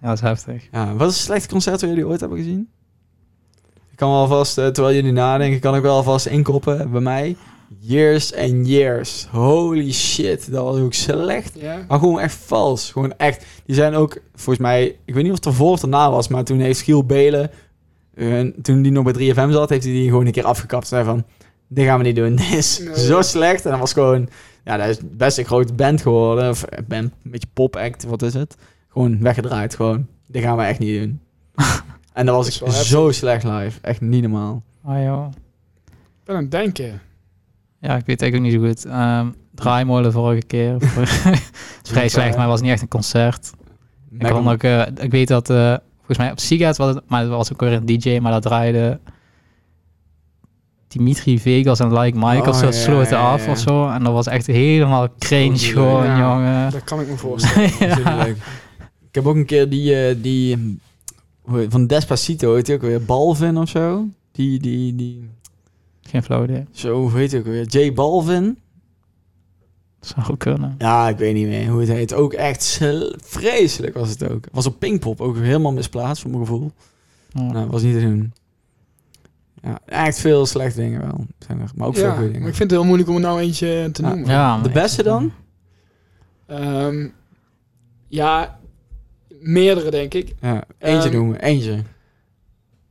[SPEAKER 2] ja, dat is heftig.
[SPEAKER 1] Ja, wat is het slechtste concert dat jullie ooit hebben gezien? Ik kan wel alvast, eh, terwijl jullie nadenken, kan ik wel alvast inkoppen bij mij. Years and Years. Holy shit, dat was ook slecht.
[SPEAKER 3] Ja.
[SPEAKER 1] Maar gewoon echt vals. Gewoon echt. Die zijn ook, volgens mij, ik weet niet of het ervoor of erna was, maar toen heeft Giel Belen, eh, toen die nog bij 3FM zat, heeft hij die gewoon een keer afgekapt. Zei van, dit gaan we niet doen. Dit is
[SPEAKER 3] Nee.
[SPEAKER 1] zo slecht. En dat was gewoon, ja, dat is best een grote band geworden. Of eh, band, een beetje pop act, wat is het? Gewoon weggedraaid, gewoon. Dit gaan we echt niet doen. en dat was
[SPEAKER 3] Dat is wel heftig.
[SPEAKER 1] zo slecht live. Echt niet normaal.
[SPEAKER 2] Ah, joh.
[SPEAKER 3] Ik ben aan het denken.
[SPEAKER 2] Ja, ik weet het eigenlijk ook niet zo goed. Ehm Draaimolen vorige keer. Het is vrij slecht, maar het was niet echt een concert. Ik, kon ook, eh, ik weet dat, eh, volgens mij op Seagate was het, maar het was ook weer een DJ, maar dat draaide Dimitri Vegas en Like Mike
[SPEAKER 1] Oh,
[SPEAKER 2] of zo,
[SPEAKER 1] ja, ja,
[SPEAKER 2] sloten
[SPEAKER 1] ja,
[SPEAKER 2] af
[SPEAKER 1] ja.
[SPEAKER 2] of zo. En dat was echt helemaal cringe
[SPEAKER 1] Goed,
[SPEAKER 2] gewoon,
[SPEAKER 3] ja.
[SPEAKER 2] jongen.
[SPEAKER 3] Dat kan ik me voorstellen.
[SPEAKER 1] Dat is heel leuk. Ik heb ook een keer die, eh, die hoe heet- van Despacito, heet hij ook weer Balvin of zo? Die, die, die,
[SPEAKER 2] Geen flauw idee.
[SPEAKER 1] zo, hoe heet hij ook weer? J Balvin?
[SPEAKER 2] Zou ook kunnen.
[SPEAKER 1] Ja, ik weet niet meer hoe het heet. Ook echt sl- vreselijk was het ook. Was op Pinkpop ook helemaal misplaatst, voor mijn gevoel.
[SPEAKER 2] Ja.
[SPEAKER 1] Nou, was niet te doen. Ja, echt veel slechte dingen wel. Zijn er, maar ook veel
[SPEAKER 3] Ja, maar
[SPEAKER 1] goede
[SPEAKER 3] ik
[SPEAKER 1] dingen.
[SPEAKER 3] vind Ah, het heel moeilijk om er nou eentje te
[SPEAKER 1] Ja.
[SPEAKER 3] noemen.
[SPEAKER 2] Ja,
[SPEAKER 1] De
[SPEAKER 2] maar-
[SPEAKER 1] beste dan?
[SPEAKER 3] Ehm, ja, meerdere denk ik.
[SPEAKER 1] Ja, eentje
[SPEAKER 3] Ehm,
[SPEAKER 1] noemen, eentje.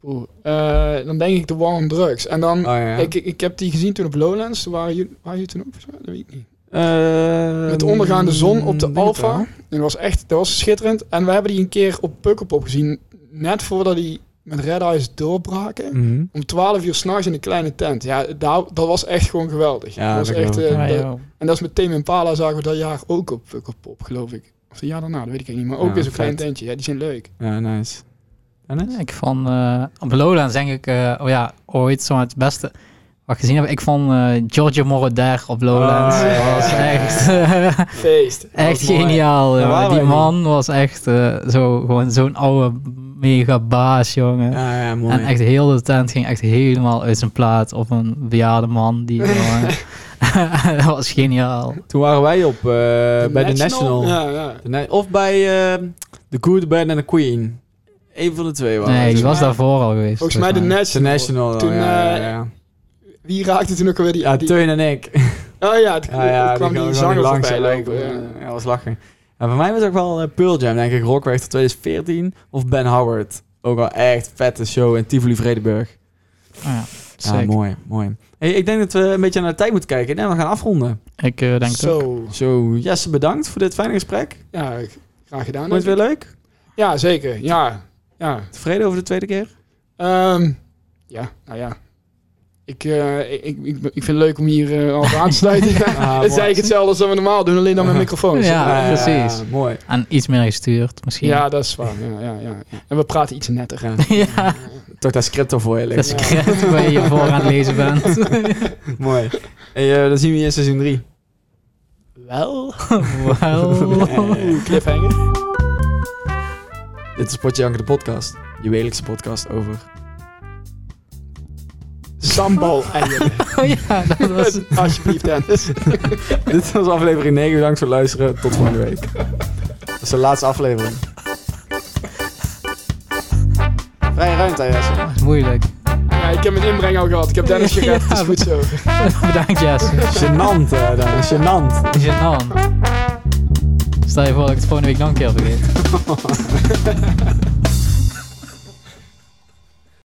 [SPEAKER 3] Oeh, eh, dan denk ik de War on Drugs. En dan,
[SPEAKER 1] Oh ja.
[SPEAKER 3] ik, ik heb die gezien toen op Lowlands. Toen waren jullie, waren jullie toen ook? volgens mij? Dat weet ik niet.
[SPEAKER 1] Ehm,
[SPEAKER 3] Met de ondergaande zon op de
[SPEAKER 1] mm, denk het wel.
[SPEAKER 3] Alfa. En dat was echt, dat was schitterend. En we hebben die een keer op Pukkelpop gezien. Net voordat die met Red Eyes doorbraken.
[SPEAKER 1] Mhm.
[SPEAKER 3] Om 12 uur s'nachts in een kleine tent. Ja, daar, dat was echt gewoon geweldig.
[SPEAKER 1] Ja,
[SPEAKER 3] dat
[SPEAKER 1] dat
[SPEAKER 3] was echt,
[SPEAKER 1] geloof ik.
[SPEAKER 2] Ja,
[SPEAKER 3] eh, dat-
[SPEAKER 2] Ah, joh.
[SPEAKER 3] en dat is met Tame Impala zagen we dat jaar ook op Pukkelpop, geloof ik. Of het jaar daarna, dat weet ik eigenlijk niet. Maar ook
[SPEAKER 1] Ja,
[SPEAKER 3] weer zo'n klein
[SPEAKER 1] vet.
[SPEAKER 3] tentje. Ja, die zijn leuk.
[SPEAKER 1] Ja, nice. Dennis?
[SPEAKER 2] Ik vond eh op Lowlands denk ik, eh, oh ja, ooit zo het beste wat ik gezien heb. Ik vond eh Giorgio Moroder op Lowlands.
[SPEAKER 1] Oh, ja.
[SPEAKER 2] Dat was echt, eh,
[SPEAKER 3] Feest.
[SPEAKER 2] echt
[SPEAKER 1] mooi.
[SPEAKER 2] geniaal.
[SPEAKER 1] Daar
[SPEAKER 2] jongen.
[SPEAKER 1] waren
[SPEAKER 2] Die
[SPEAKER 1] wij niet.
[SPEAKER 2] man was echt eh, zo, gewoon zo'n oude mega baas, jongen.
[SPEAKER 1] Ja, ja, mooi.
[SPEAKER 2] En echt heel de tent ging echt helemaal uit zijn plaat op een bejaarde man. Die, jongen. dat was geniaal.
[SPEAKER 1] Toen waren wij op eh, bij de National.
[SPEAKER 3] Ja, ja.
[SPEAKER 1] De Na- of bij eh, The Good Band and the Queen. Eén van de twee waren.
[SPEAKER 2] Nee,
[SPEAKER 1] het.
[SPEAKER 2] die was
[SPEAKER 3] mij-
[SPEAKER 2] daarvoor al geweest.
[SPEAKER 3] Volgens mij de
[SPEAKER 1] De
[SPEAKER 3] National.
[SPEAKER 1] National.
[SPEAKER 3] Toen,
[SPEAKER 1] Toen, ja, ja,
[SPEAKER 3] eh,
[SPEAKER 1] ja.
[SPEAKER 3] Wie raakte toen ook alweer die...
[SPEAKER 1] ja
[SPEAKER 3] die
[SPEAKER 1] Teun en ik.
[SPEAKER 3] oh ja, toen
[SPEAKER 1] Ah, Ja, ja,
[SPEAKER 3] kwam die,
[SPEAKER 1] gaan we gewoon
[SPEAKER 3] zanger
[SPEAKER 1] niet
[SPEAKER 3] voorbij lopen.
[SPEAKER 1] lopen.
[SPEAKER 3] ja.
[SPEAKER 1] Ja, dat was lachen. En bij mij was ook wel eh, Pearl Jam, denk ik. Rockweg tot 2014. Of Ben Howard. Ook wel echt vette show in Tivoli Vredenburg.
[SPEAKER 2] Ja,
[SPEAKER 1] Ja,
[SPEAKER 2] sick.
[SPEAKER 1] mooi, mooi. Hey, ik denk dat we een beetje naar de tijd moeten kijken. En we gaan afronden.
[SPEAKER 2] Ik eh, denk het ook.
[SPEAKER 3] Zo.
[SPEAKER 1] Zo, Jesse, bedankt voor dit fijne gesprek.
[SPEAKER 3] Ja,
[SPEAKER 1] Vond
[SPEAKER 3] graag gedaan.
[SPEAKER 1] je het
[SPEAKER 3] denk
[SPEAKER 1] weer leuk?
[SPEAKER 3] ik. Ja, zeker. Ja. Ja.
[SPEAKER 1] Tevreden over de tweede keer?
[SPEAKER 3] Ehm, ja, nou ja. Ik, eh, ik, ik, ik vind het leuk om hier eh, al voor aan te sluiten. Ja,
[SPEAKER 1] Ah,
[SPEAKER 3] het is
[SPEAKER 1] mooi.
[SPEAKER 3] eigenlijk hetzelfde als dat we normaal doen, alleen dan met microfoons.
[SPEAKER 2] Ja.
[SPEAKER 1] Ah,
[SPEAKER 2] precies.
[SPEAKER 1] ja, mooi.
[SPEAKER 2] En iets meer gestuurd misschien.
[SPEAKER 3] Ja, dat is waar. Ja, ja, ja. En we praten iets netter.
[SPEAKER 1] Ja.
[SPEAKER 2] ja.
[SPEAKER 1] Toch dat script al voor je
[SPEAKER 2] Dat
[SPEAKER 1] liggen.
[SPEAKER 2] script waar je voor aan het lezen bent.
[SPEAKER 1] Mooi. Hey, eh, dan zien we je in seizoen 3.
[SPEAKER 3] Wel.
[SPEAKER 2] Wel.
[SPEAKER 3] Oeh, cliffhanger.
[SPEAKER 1] Dit is Potje Janker de podcast. Je wekelijkse podcast over...
[SPEAKER 3] Sambal eieren.
[SPEAKER 2] ja, dat was
[SPEAKER 3] Alsjeblieft, Dennis.
[SPEAKER 1] Dit was aflevering 9. Bedankt voor het luisteren. Tot volgende week. Dat is de laatste aflevering. Vrije ruimte, Jesse.
[SPEAKER 2] moeilijk.
[SPEAKER 3] Ja, ik heb mijn inbreng al gehad. Ik heb Dennis gered. Het is
[SPEAKER 2] Ja.
[SPEAKER 3] goed zo.
[SPEAKER 2] Bedankt, Jess.
[SPEAKER 1] Genant, eh, dan. Genant.
[SPEAKER 2] Is het nou? Stel je voor dat ik het volgende week nog een keer vergeet.